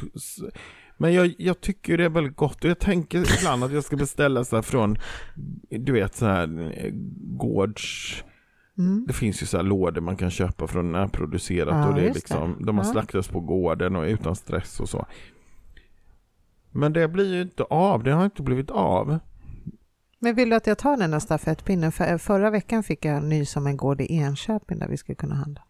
B: Men jag, jag tycker ju det är väldigt gott och jag tänker ibland att jag ska beställa så här från, du vet så här eh, gårds...
C: Mm.
B: Det finns ju så här lådor man kan köpa från närproducerat
C: Ja,
B: och det är
C: just
B: liksom, de har
C: Ja.
B: slaktats på gården och utan stress och så. Men det blir ju inte av, det har inte blivit av.
C: Men vill du att jag tar den här stafettpinnen? För, eh, förra veckan fick jag ny som en gård i Enköping där vi skulle kunna handla.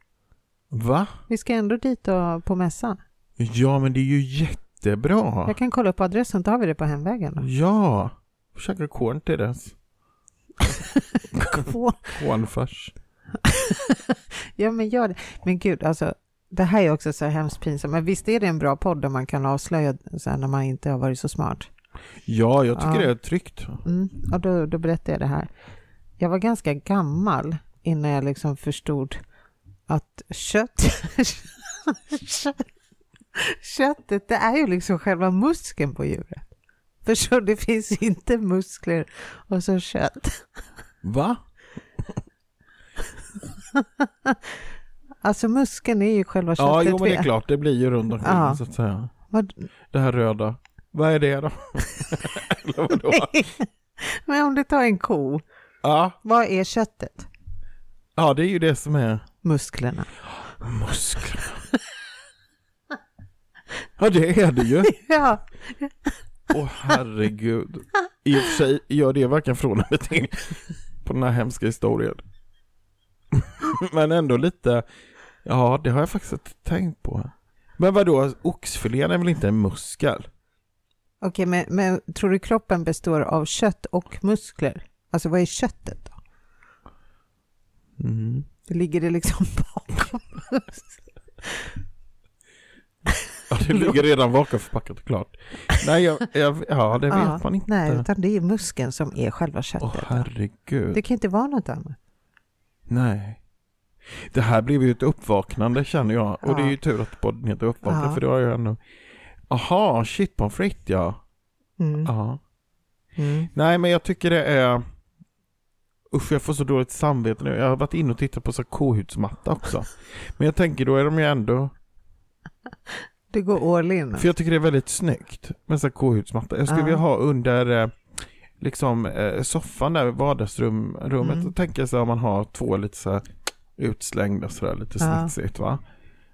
B: Va?
C: Vi ska ändå dit och, på mässan.
B: Ja men det är ju jättebra.
C: Jag kan kolla upp adressen, då har vi det på hemvägen. Då.
B: Ja, käka korn till dess.
C: Åh,
B: Cornfärs.
C: Ja men gör det. Men gud, alltså det här är också så här hemskt pinsamt. Men visst är det en bra podd där man kan avslöja så här, när man inte har varit så smart?
B: Ja, jag tycker
C: Ja.
B: det är tryggt.
C: Mm. Och då, då berättade jag det här. Jag var ganska gammal innan jag liksom förstod att kött... Köttet, det är ju liksom själva muskeln på djuret. Förstår du? Det finns inte muskler och så kött.
B: Va?
C: Alltså muskeln är ju själva köttet.
B: Ja, jo, men det är
C: vet.
B: klart. Det blir ju runt omkring
C: Ja.
B: så att säga.
C: Vad-
B: Det här röda. Vad är det då? Eller vadå?
C: Men om du tar en ko,
B: Ja.
C: vad är köttet?
B: ja, det är ju det som är
C: Musklerna.
B: musklerna. Ja, det är det ju.
C: Ja,
B: Åh, herregud. I och för sig gör det varken från eller till på den här hemska historien. Men ändå lite, ja, det har jag faktiskt inte tänkt på. Men vadå, oxfilén är väl inte en muskel?
C: okej, men, men tror du kroppen består av kött och muskler? Alltså vad är köttet? då?
B: Mm.
C: Det ligger det liksom bakom.
B: Ja, det ligger redan bakom förpackat och klart. Nej, jag, jag, ja, det vet
C: Ja,
B: man inte.
C: Nej, utan det är muskeln som är själva
B: Åh,
C: köttet.
B: herregud.
C: det kan inte vara något annat.
B: Nej. Det här blev ju ett uppvaknande känner jag. Och det är ju
C: Ja.
B: tur att podden heter Uppvaknande,
C: Ja.
B: för det har jag ändå... Aha, shit pommes frites ja.
C: Mm.
B: ja.
C: Mm.
B: Nej, men jag tycker det är... Usch, jag får så dåligt samvete nu. Jag har varit inne och tittat på så här kohudsmatta också. Men jag tänker, då är de ju ändå...
C: Du går all in.
B: För jag tycker det är väldigt snyggt med så här kohudsmatta. Jag skulle
C: Ja.
B: vilja ha under eh, liksom eh, soffan där i vardagsrummet.
C: Mm.
B: Då tänker jag så här, om man har två lite så här utslängda så där lite
C: Ja.
B: snitsigt va.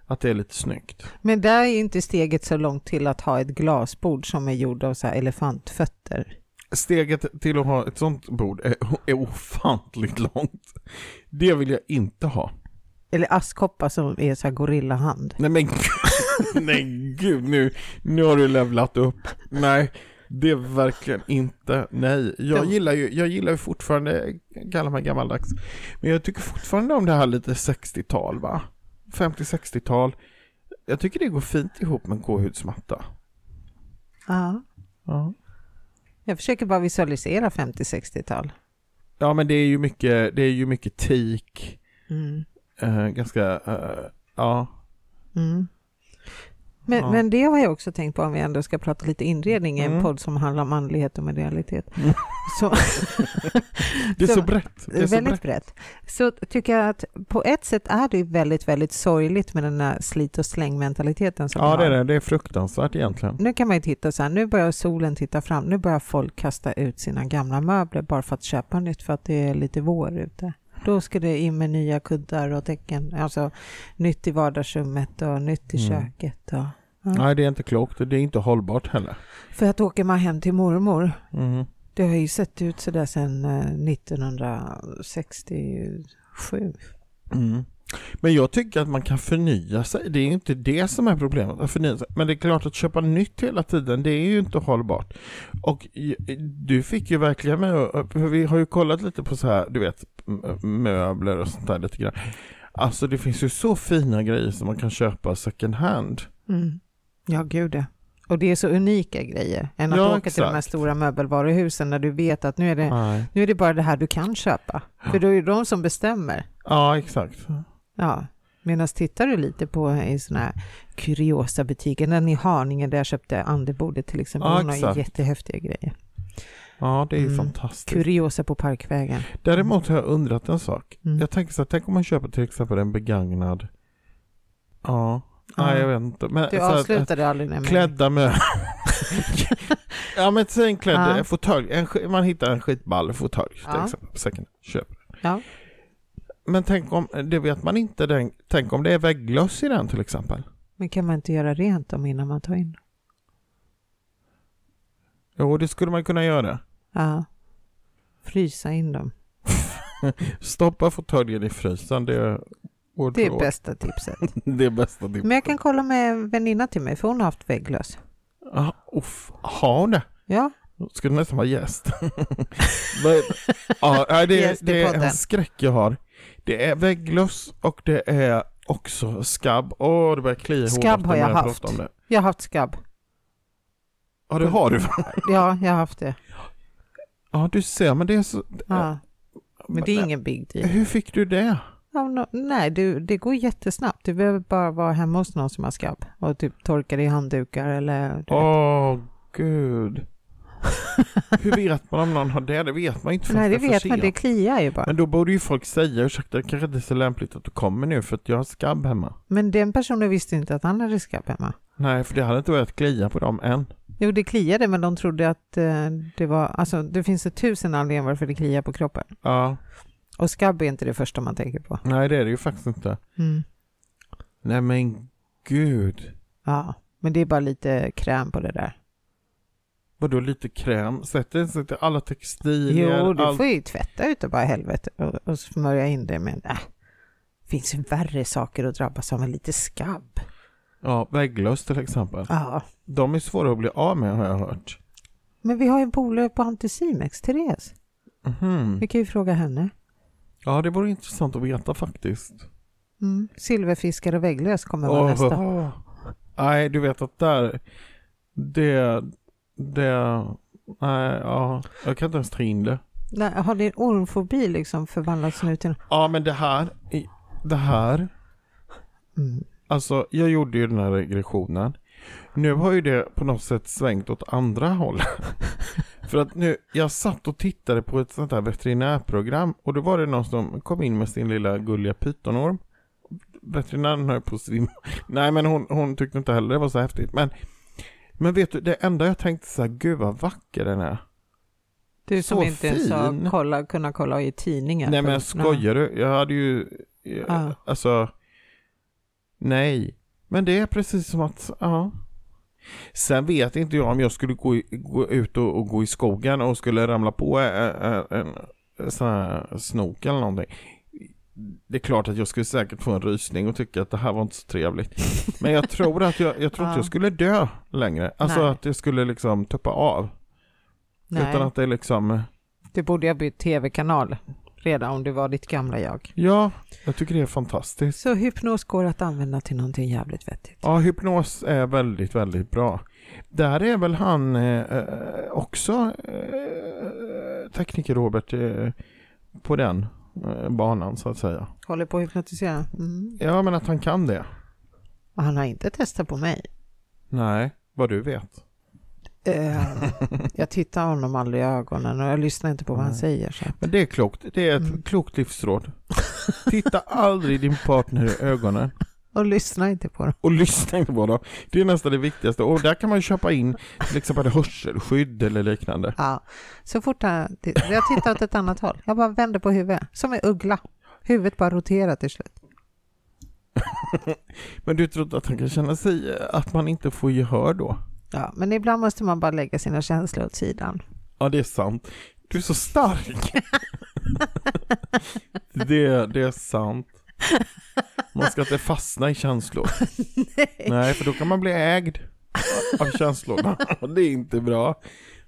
B: Att det är lite snyggt.
C: Men där är inte steget så långt till att ha ett glasbord som är gjord av så här elefantfötter.
B: Steget till att ha ett sånt bord är, är ofantligt långt. Det vill jag inte ha.
C: Eller askkoppar som är så här gorillahand.
B: Nej men gud, nej gud nu, nu har du levlat upp. Nej, det är verkligen inte, nej. Jag
C: Det-
B: gillar ju, jag gillar ju fortfarande, kallar mig gammaldags, men jag tycker fortfarande om det här lite 60-tal va? 50-60-tal. Jag tycker det går fint ihop med en gåhudsmatta.
C: Ja.
B: Ja.
C: Jag försöker bara visualisera 50-60-tal.
B: ja men det är ju mycket, det är ju mycket teak,
C: Mm.
B: eh, ganska, eh, ja.
C: Mm. Men,
B: Ja.
C: men det har jag också tänkt på om vi ändå ska prata lite inredning i en
B: Mm.
C: podd som handlar om manlighet och medialitet.
B: Mm.
C: Så,
B: Det är
C: Så-
B: så brett. Det är så
C: väldigt
B: brett.
C: brett. Så tycker jag att på ett sätt är det ju väldigt, väldigt sorgligt med den här slit och slängmentaliteten som vi
B: Ja
C: har.
B: det är det, det är fruktansvärt egentligen.
C: Nu kan man ju titta så här, nu börjar solen titta fram, nu börjar folk kasta ut sina gamla möbler bara för att köpa nytt för att det är lite vår ute. Då ska det in med nya kuddar och täcken, alltså nytt i vardagsrummet och nytt i
B: Mm.
C: köket. Och,
B: Nej, det är inte klokt och det är inte hållbart heller.
C: för att åker man hem till mormor,
B: Mm.
C: det har ju sett ut sådär sedan eh, 1967.
B: Men jag tycker att man kan förnya sig. Det är ju inte det som är problemet, att förnya sig. Men det är klart att köpa nytt hela tiden, det är ju inte hållbart. Och i- du fick ju verkligen med, för vi har ju kollat lite på så här, du vet, m- möbler och sånt där lite grann. Alltså det finns ju så fina grejer som man kan köpa second hand.
C: Mm. Ja, gud ja. Och det är så unika grejer. Än att
B: Ja,
C: åka till de här
B: exakt.
C: stora möbelvaruhusen när du vet att nu är, det,
B: Nej.
C: nu är det bara det här du kan köpa. För då är det de som bestämmer.
B: Ja, exakt.
C: Ja. Medan tittar du lite på i sådana här kuriosa butiker, den i Haninge där jag köpte Anderbordet till exempel,
B: Ja,
C: hon har
B: exakt.
C: ju jättehäftiga grejer.
B: Ja, det är
C: Mm.
B: fantastiskt.
C: Kuriosa på Parkvägen.
B: Däremot har jag undrat en sak.
C: Mm.
B: Jag tänker så här, tänk om man köper till exempel en begagnad... Ja, nej jag vet inte. Men,
C: Du
B: så här,
C: avslutade aldrig nämligen.
B: Klädda med... ja men säg en klädd
C: Ja.
B: en fåtölj. En sk- Man hittar en skitball fåtölj till
C: Ja.
B: exempel på second hand. Köper den.
C: Ja.
B: Men tänk om, det vet man inte, den, tänk om det är vägglöss i den till exempel.
C: Men kan man inte göra rent dem innan man tar in?
B: Jo, det skulle man kunna göra.
C: Ja. Frysa in dem.
B: Stoppa fåtöljen i frysen, det är vårt
C: Det är
B: råd.
C: bästa tipset.
B: det är bästa tipset.
C: Men jag kan kolla med en väninna till mig, för hon har haft vägglöss.
B: Ah, uff, har hon det?
C: Ja,
B: Då Skulle nästan vara gäst. Men, ja, nej, det,
C: Gäst i
B: det är
C: podden.
B: en skräck jag har. Det är vägglöss och det är också skabb. Åh, det börjar klia i
C: Skabb
B: håret
C: har
B: när
C: jag
B: pratar
C: haft.
B: Om det.
C: jag har haft skabb.
B: Ja, det har du.
C: Ja, jag har haft det.
B: Ja, du ser, men det är så...
C: Ja. Men det är ingen big deal.
B: Hur fick du det?
C: Ja, nå- nej, du, det går jättesnabbt. Du behöver bara vara hemma hos någon som har skabb och typ torka dig i handdukar eller... du
B: Åh,
C: vet.
B: gud. Hur vet man om någon har det? Det vet man ju inte förrän
C: nej, det
B: är för
C: vet man.
B: sent.
C: Det kliar ju bara.
B: Men då borde ju folk säga, ursäkta, det kanske inte är så lämpligt att du kommer nu för att jag har skabb hemma.
C: Men den personen visste inte att han hade skabb hemma.
B: Nej, för det hade inte börjat klia på dem än.
C: Jo, det kliade, men de trodde att eh, det var... Alltså, det finns ju tusen anledningar varför det kliar på kroppen.
B: Ja,
C: Och skabb är inte det första man tänker på.
B: nej det är det ju faktiskt inte.
C: Mm.
B: Nej men gud.
C: Ja, men det är bara lite kräm på det där.
B: Vadå lite kräm? Sätter sig till alla textilier?
C: Jo, du
B: allt-
C: får ju tvätta utav bara helvete och, och smörja in det med... Äh, finns ju värre saker att drabbas av än lite skabb.
B: Ja, vägglöss till exempel.
C: Ja,
B: De är svåra att bli av med har jag hört.
C: men vi har ju en polare på Anticimex, Therese.
B: Mhm.
C: Vi kan ju fråga henne.
B: Ja, det vore intressant att veta faktiskt.
C: Mm. Silverfiskar och vägglös kommer vara nästa.
B: Åh. Nej, du vet att där, det, det, nej, ja, jag kan inte ens ta in det.
C: Nej, har din ormfobi liksom förvandlats nu till...
B: Ja, men det här, i- det här,
C: Mm.
B: alltså jag gjorde ju den här regressionen. Nu har ju det på något sätt svängt åt andra hållet. För att nu, jag satt och tittade på ett sånt här veterinärprogram och då var det någon som kom in med sin lilla gulliga pytonorm. Veterinären höll på att svimma. Nej men hon, hon tyckte inte heller det var så häftigt. Men, men vet du, det enda jag tänkte så här, gud vad vacker den är.
C: Du som
B: Så
C: inte ens
B: fin.
C: har kolla, kunnat kolla i tidningen.
B: Nej men jag skojar du? Jag hade ju, eh,
C: Ja.
B: alltså, nej. Men det är precis som att, ja. Sen vet inte jag om jag skulle gå, i, gå ut och, och gå i skogen och skulle ramla på en, en, en sån här snok eller någonting. Det är klart att jag skulle säkert få en rysning och tycka att det här var inte så trevligt. Men jag tror att jag, jag, tror inte
C: Ja.
B: jag skulle dö längre. Alltså
C: Nej.
B: att jag skulle liksom tuppa av.
C: Nej,
B: Utan att det är liksom,
C: du borde ha bytt tv-kanal redan om du var ditt gamla jag.
B: ja, jag tycker det är fantastiskt.
C: Så hypnos går att använda till någonting jävligt vettigt.
B: Ja, hypnos är väldigt, väldigt bra. Där är väl han eh, eh, också eh, tekniker Robert eh, på den eh, banan så att säga.
C: Håller på att hypnotisera. Mm.
B: Ja, men att han kan det.
C: Och han har inte testat på mig.
B: Nej, vad du vet.
C: Eh, jag tittar honom aldrig i ögonen och jag lyssnar inte på vad han
B: Nej.
C: säger. Så. att-
B: Men det är klokt. Det är ett
C: Mm.
B: klokt livsråd. Titta aldrig din partner i ögonen
C: Och lyssnar inte på dem.
B: och lyssna inte på dem. Det är nästan det viktigaste. Och där kan man ju köpa in liksom, till exempel hörselskydd eller liknande.
C: Ja. Så fort han, det- jag tittar åt ett annat håll. Jag bara vänder på huvudet. Som en uggla. Huvudet bara roterar till slut.
B: Men du tror inte att han kan känna sig eh, att man inte får gehör då?
C: Ja, men ibland måste man bara lägga sina känslor åt sidan.
B: Ja, det är sant. Du är så stark. det, det är sant. Man ska inte fastna i känslor. Nej. för då kan man bli ägd av känslorna. Och det är inte bra.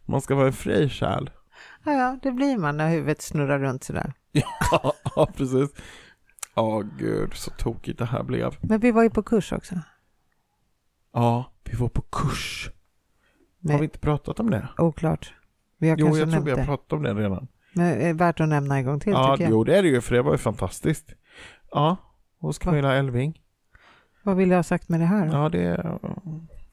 B: Man ska vara en fri själ.
C: Ja, ja, det blir man när huvudet snurrar runt sådär.
B: ja, precis. Åh gud, så tokigt det här blev.
C: Men vi var ju på kurs också.
B: Ja, vi var på kurs.
C: Men,
B: Har vi inte pratat om det?
C: Oklart. Vi har
B: Jo,
C: kanske
B: jag tror
C: nämnt
B: vi har
C: det.
B: pratat om det redan.
C: Men är värt att nämna en gång till
B: Ja,
C: tycker jag.
B: jo, det är det ju, för det var ju fantastiskt. Ja, hos Camilla Elving.
C: Vad vill jag ha sagt med det här? då?
B: Ja, det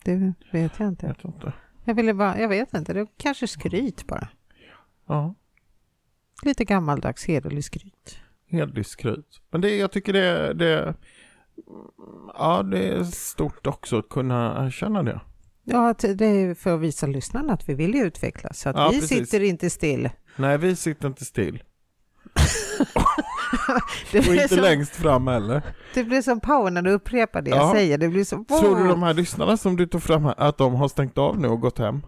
C: Det vet jag inte.
B: vet jag inte.
C: Jag ville bara, jag vet inte, det är kanske skryt bara.
B: Ja,
C: Lite gammaldags hederlig skryt.
B: hederligt skryt. Men det, jag tycker det, det, ja, det är stort också att kunna erkänna det.
C: Ja, att det är för att visa lyssnarna att vi vill ju utvecklas. Så att
B: Ja,
C: vi
B: precis.
C: sitter inte still.
B: Nej, vi sitter inte still.
C: Det
B: Och
C: blir,
B: inte
C: som,
B: längst fram heller.
C: det blir som power när du upprepar det jag
B: Ja.
C: säger. Det blir som...
B: Tror du de här lyssnarna som du tog fram här, att de har stängt av nu och gått hem?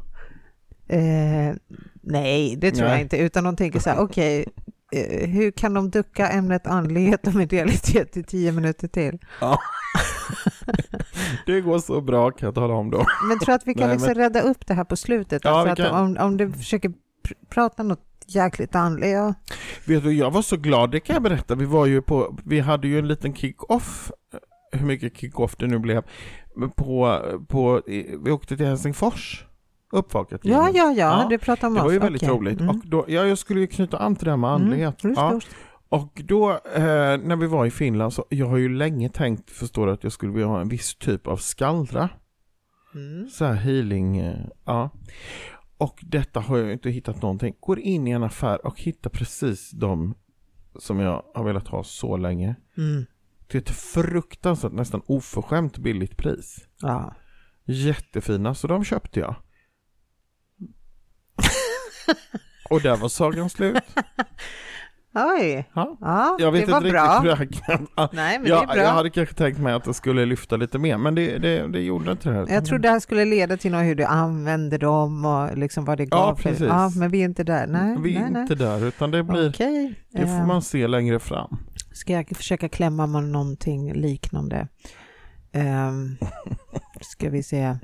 C: Eh, nej, det tror
B: Nej.
C: jag inte. Utan de tänker så här, okej, eh, hur kan de ducka ämnet andlighet och medialitet i tio minuter till?
B: Det går så bra kan jag tala om då.
C: Men tror att vi kan
B: Nej,
C: liksom
B: men-
C: rädda upp det här på slutet?
B: Ja, vi
C: alltså att
B: kan.
C: om, om du försöker pr- prata något jäkligt andligt, ja.
B: Vet du, jag var så glad, det kan jag berätta. Vi var ju på, vi hade ju en liten kick-off, hur mycket kick-off det nu blev, på, på, i- vi åkte till Helsingfors, uppvaket.
C: Ja, ja, ja,
B: Mm. Ja,
C: du pratar om
B: Det
C: oss.
B: var ju väldigt
C: Okej.
B: roligt.
C: Mm.
B: Och då, ja, jag skulle ju knyta an till det här med
C: Mm.
B: andlighet.
C: Just,
B: Ja.
C: just.
B: Och då, eh, när vi var i Finland, så jag har ju länge tänkt, förstår du, att jag skulle vilja ha en viss typ av skallra.
C: Mm.
B: Så här healing, eh, ja. Och detta har jag inte hittat någonting. Går in i en affär och hittar precis de som jag har velat ha så länge.
C: Mm.
B: Till ett fruktansvärt, nästan oförskämt billigt pris.
C: Ja.
B: Jättefina, så de köpte jag. och där var sagan slut.
C: Oj,
B: Ja.
C: ja,
B: Jag vet
C: det var
B: inte
C: bra.
B: riktigt hur det här kan... Ja,
C: Nej, men det är
B: Jag,
C: bra.
B: jag
C: Jag,
B: hade kanske tänkt mig att det skulle lyfta lite mer, men det, det, det gjorde inte det här.
C: tror det här skulle leda till något, hur du använde dem och liksom vad det
B: Ja,
C: gav. för-
B: precis.
C: ja, men vi är inte där. Nej,
B: Vi är
C: nej, nej.
B: inte där, utan det blir...
C: Okej.
B: Det får
C: Eh,
B: man se längre fram.
C: Ska jag försöka klämma med någonting liknande? Um, ska vi se.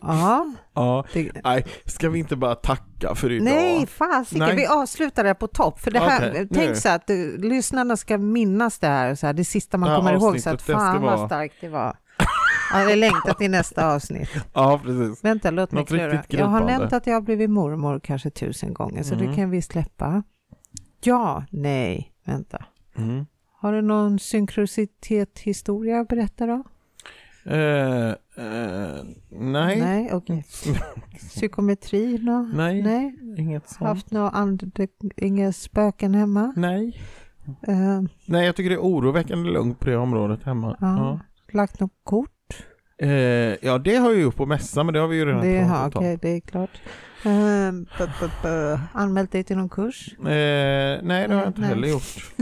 C: Ja,
B: Ja,
C: det,
B: nej, ska vi inte bara tacka för idag?
C: nej fasiken,
B: Nej.
C: vi avslutar det här på topp. För det här,
B: Okej,
C: tänk
B: nu.
C: så att du, lyssnarna ska minnas det här, så här, det sista man
B: Det här
C: kommer ihåg, så att
B: avsnittet, det
C: fan
B: ska
C: vad
B: vara-
C: starkt det var. Ja, jag längtar till nästa avsnitt.
B: Ja, precis.
C: Vänta, låt mig
B: Något riktigt Mm.
C: klura. Jag har
B: gripande.
C: nämnt att jag har blivit mormor kanske tusen gånger, så det kan vi släppa. Ja, nej, vänta.
B: Mm.
C: Har du någon synkronicitet-historia att berätta då?
B: Eh, eh, nej. nej.
C: Nej, okej. Psykometri? nå?
B: Nej.
C: Nej.
B: Inget sånt.
C: Haft några and- inga spöken hemma?
B: Nej.
C: Eh,
B: Nej, jag tycker det är oroväckande lugnt på det området hemma.
C: ja.
B: Ja.
C: Lagt något kort?
B: Eh, ja, det har jag gjort på mässan, men det har vi ju redan
C: Det, ja,
B: pratat om.
C: okej, det är klart. Eh, bu- bu- bu- Anmält dig till någon kurs?
B: Eh, nej, det har
C: Nej,
B: jag inte
C: nej.
B: heller gjort.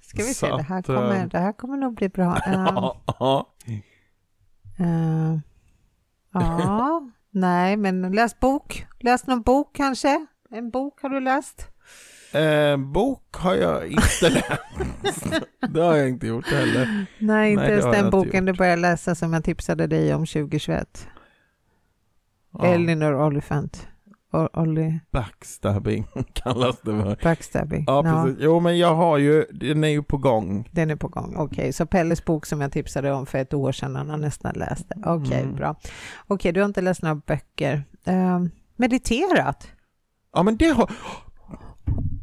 C: Ska vi se,
B: Så
C: det här
B: att, eh,
C: kommer, det här kommer nog bli bra. Eh,
B: Ja, ja.
C: Eh, ja, nej, men läs bok. Läs någon bok kanske? En bok har du läst?
B: Eh, bok har jag inte läst. det har jag inte gjort heller.
C: Nej, inte
B: Nej, det
C: ens
B: har jag
C: den
B: inte
C: boken du började läsa som jag tipsade dig om 2021.
B: Ja,
C: Elinor Olyphant. O- Olly
B: Backstabbing kallas det för.
C: Backstabbing.
B: Ja,
C: Ja,
B: precis. Jo, men jag har ju, den är ju på gång.
C: Den är på gång. Okej, så Pelles bok som jag tipsade om för ett år sedan, han har nästan läst det. Okej,
B: Mm.
C: bra. Okej, du har inte läst några böcker. Eh, mediterat?
B: Ja men det har,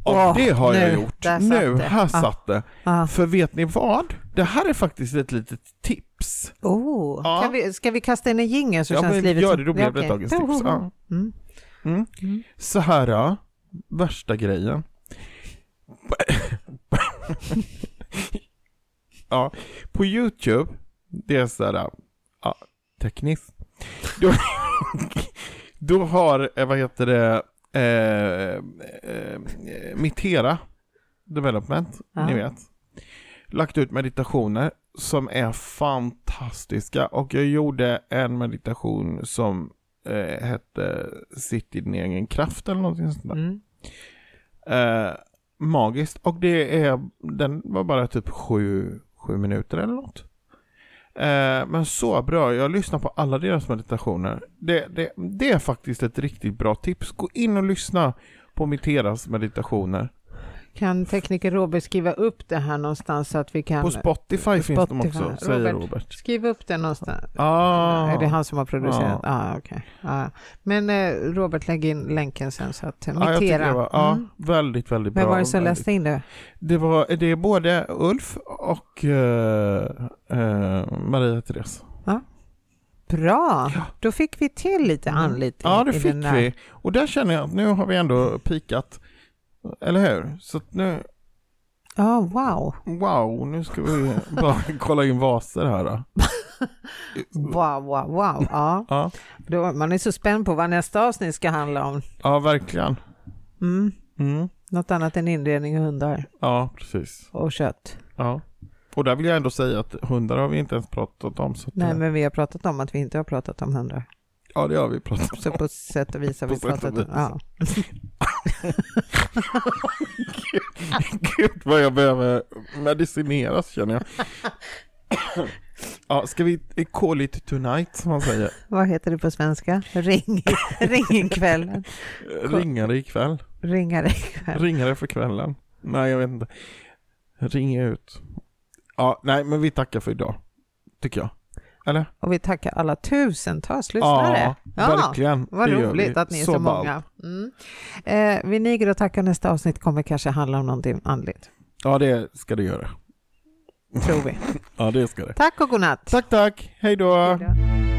B: ja,
C: Åh,
B: det har
C: nu,
B: jag gjort.
C: där satt
B: Nu,
C: det.
B: här
C: Ja.
B: satt det.
C: Ah.
B: För vet ni vad? Det här är faktiskt ett litet tips.
C: Oh,
B: Ja.
C: kan vi, ska vi kasta in en jingel så
B: Ja,
C: känns
B: men
C: livet
B: gör
C: som-
B: det, då
C: Ja,
B: blev det
C: okej.
B: dagens tips. Ja.
C: Mm.
B: Mm.
C: Mm.
B: Så här, ja. värsta grejen. ja, på YouTube, det är så här, ja, tekniskt. Då, då har, eh, vad heter det, eh, eh, Mitera Development,
C: Ja.
B: ni vet, lagt ut meditationer som är fantastiska och jag gjorde en meditation som eh, hette Sitt i din egen kraft eller någonting sånt där.
C: Mm.
B: Eh, magiskt. Och det är, den var bara typ sju, sju minuter eller något. Eh, men så bra, jag lyssnar på alla deras meditationer. Det, det, det är faktiskt ett riktigt bra tips. Gå in och lyssna på Miteras meditationer.
C: Kan tekniker Robert skriva upp det här någonstans så att vi kan...
B: På Spotify finns de
C: Spotify.
B: också, säger
C: Robert.
B: Robert.
C: Skriv upp det någonstans.
B: Ah.
C: Är det han som har producerat?
B: Ja.
C: Ah, okej. ah. Men eh, Robert, lägg in länken sen så att eh,
B: Ja, jag tycker
C: notera.
B: det var, ja,
C: Mm.
B: väldigt, väldigt bra.
C: Vem var det som
B: Väldigt-
C: läste in det?
B: Det, var, det är både Ulf och eh, eh, Maria Therese.
C: Bra, då fick vi till lite anlitning.
B: Mm. Ja, det
C: i
B: fick
C: den där.
B: vi. Och där känner jag att nu har vi ändå pikat. Eller hur? Så att nu,
C: Ja, wow.
B: wow, nu ska vi bara kolla in vaser här då.
C: Wow, wow, wow. Ja.
B: Ja,
C: Då, man är så spänd på vad nästa avsnitt ska handla om.
B: ja verkligen.
C: Mm.
B: Mm.
C: Något annat än inredning och hundar
B: Ja, precis.
C: och kött.
B: Ja. Och där vill jag ändå säga att hundar har vi inte ens pratat om. Så att, eh,
C: Nej, men vi har pratat om att vi inte har pratat om hundar.
B: Ja, det har vi pratat om.
C: Så på sätt och vis har
B: På
C: vi
B: sätt och
C: pratat om...
B: vis.
C: Ja.
B: Gud vad jag behöver medicineras känner jag. Ja, ska vi eh, call it tonight som man säger?
C: Vad heter det på svenska? Ring, ring kvällen.
B: Ringare ikväll.
C: Ringa dig ikväll.
B: Ringare för kvällen. Nej, jag vet inte. Ring ut. Ja, nej, men vi tackar för idag. Tycker jag. Eller?
C: Och vi tackar alla tusentals lyssnare.
B: Ja, verkligen.
C: Vad
B: Det gör
C: roligt
B: vi.
C: att ni är så,
B: ballt.
C: många. Mm. Eh, vi niger och tackar nästa avsnitt kommer kanske handla om någonting andligt.
B: Ja, det ska det göra.
C: Tror vi.
B: Ja, det ska det.
C: Tack och godnatt.
B: Tack, tack. Hej då.
C: Hej då.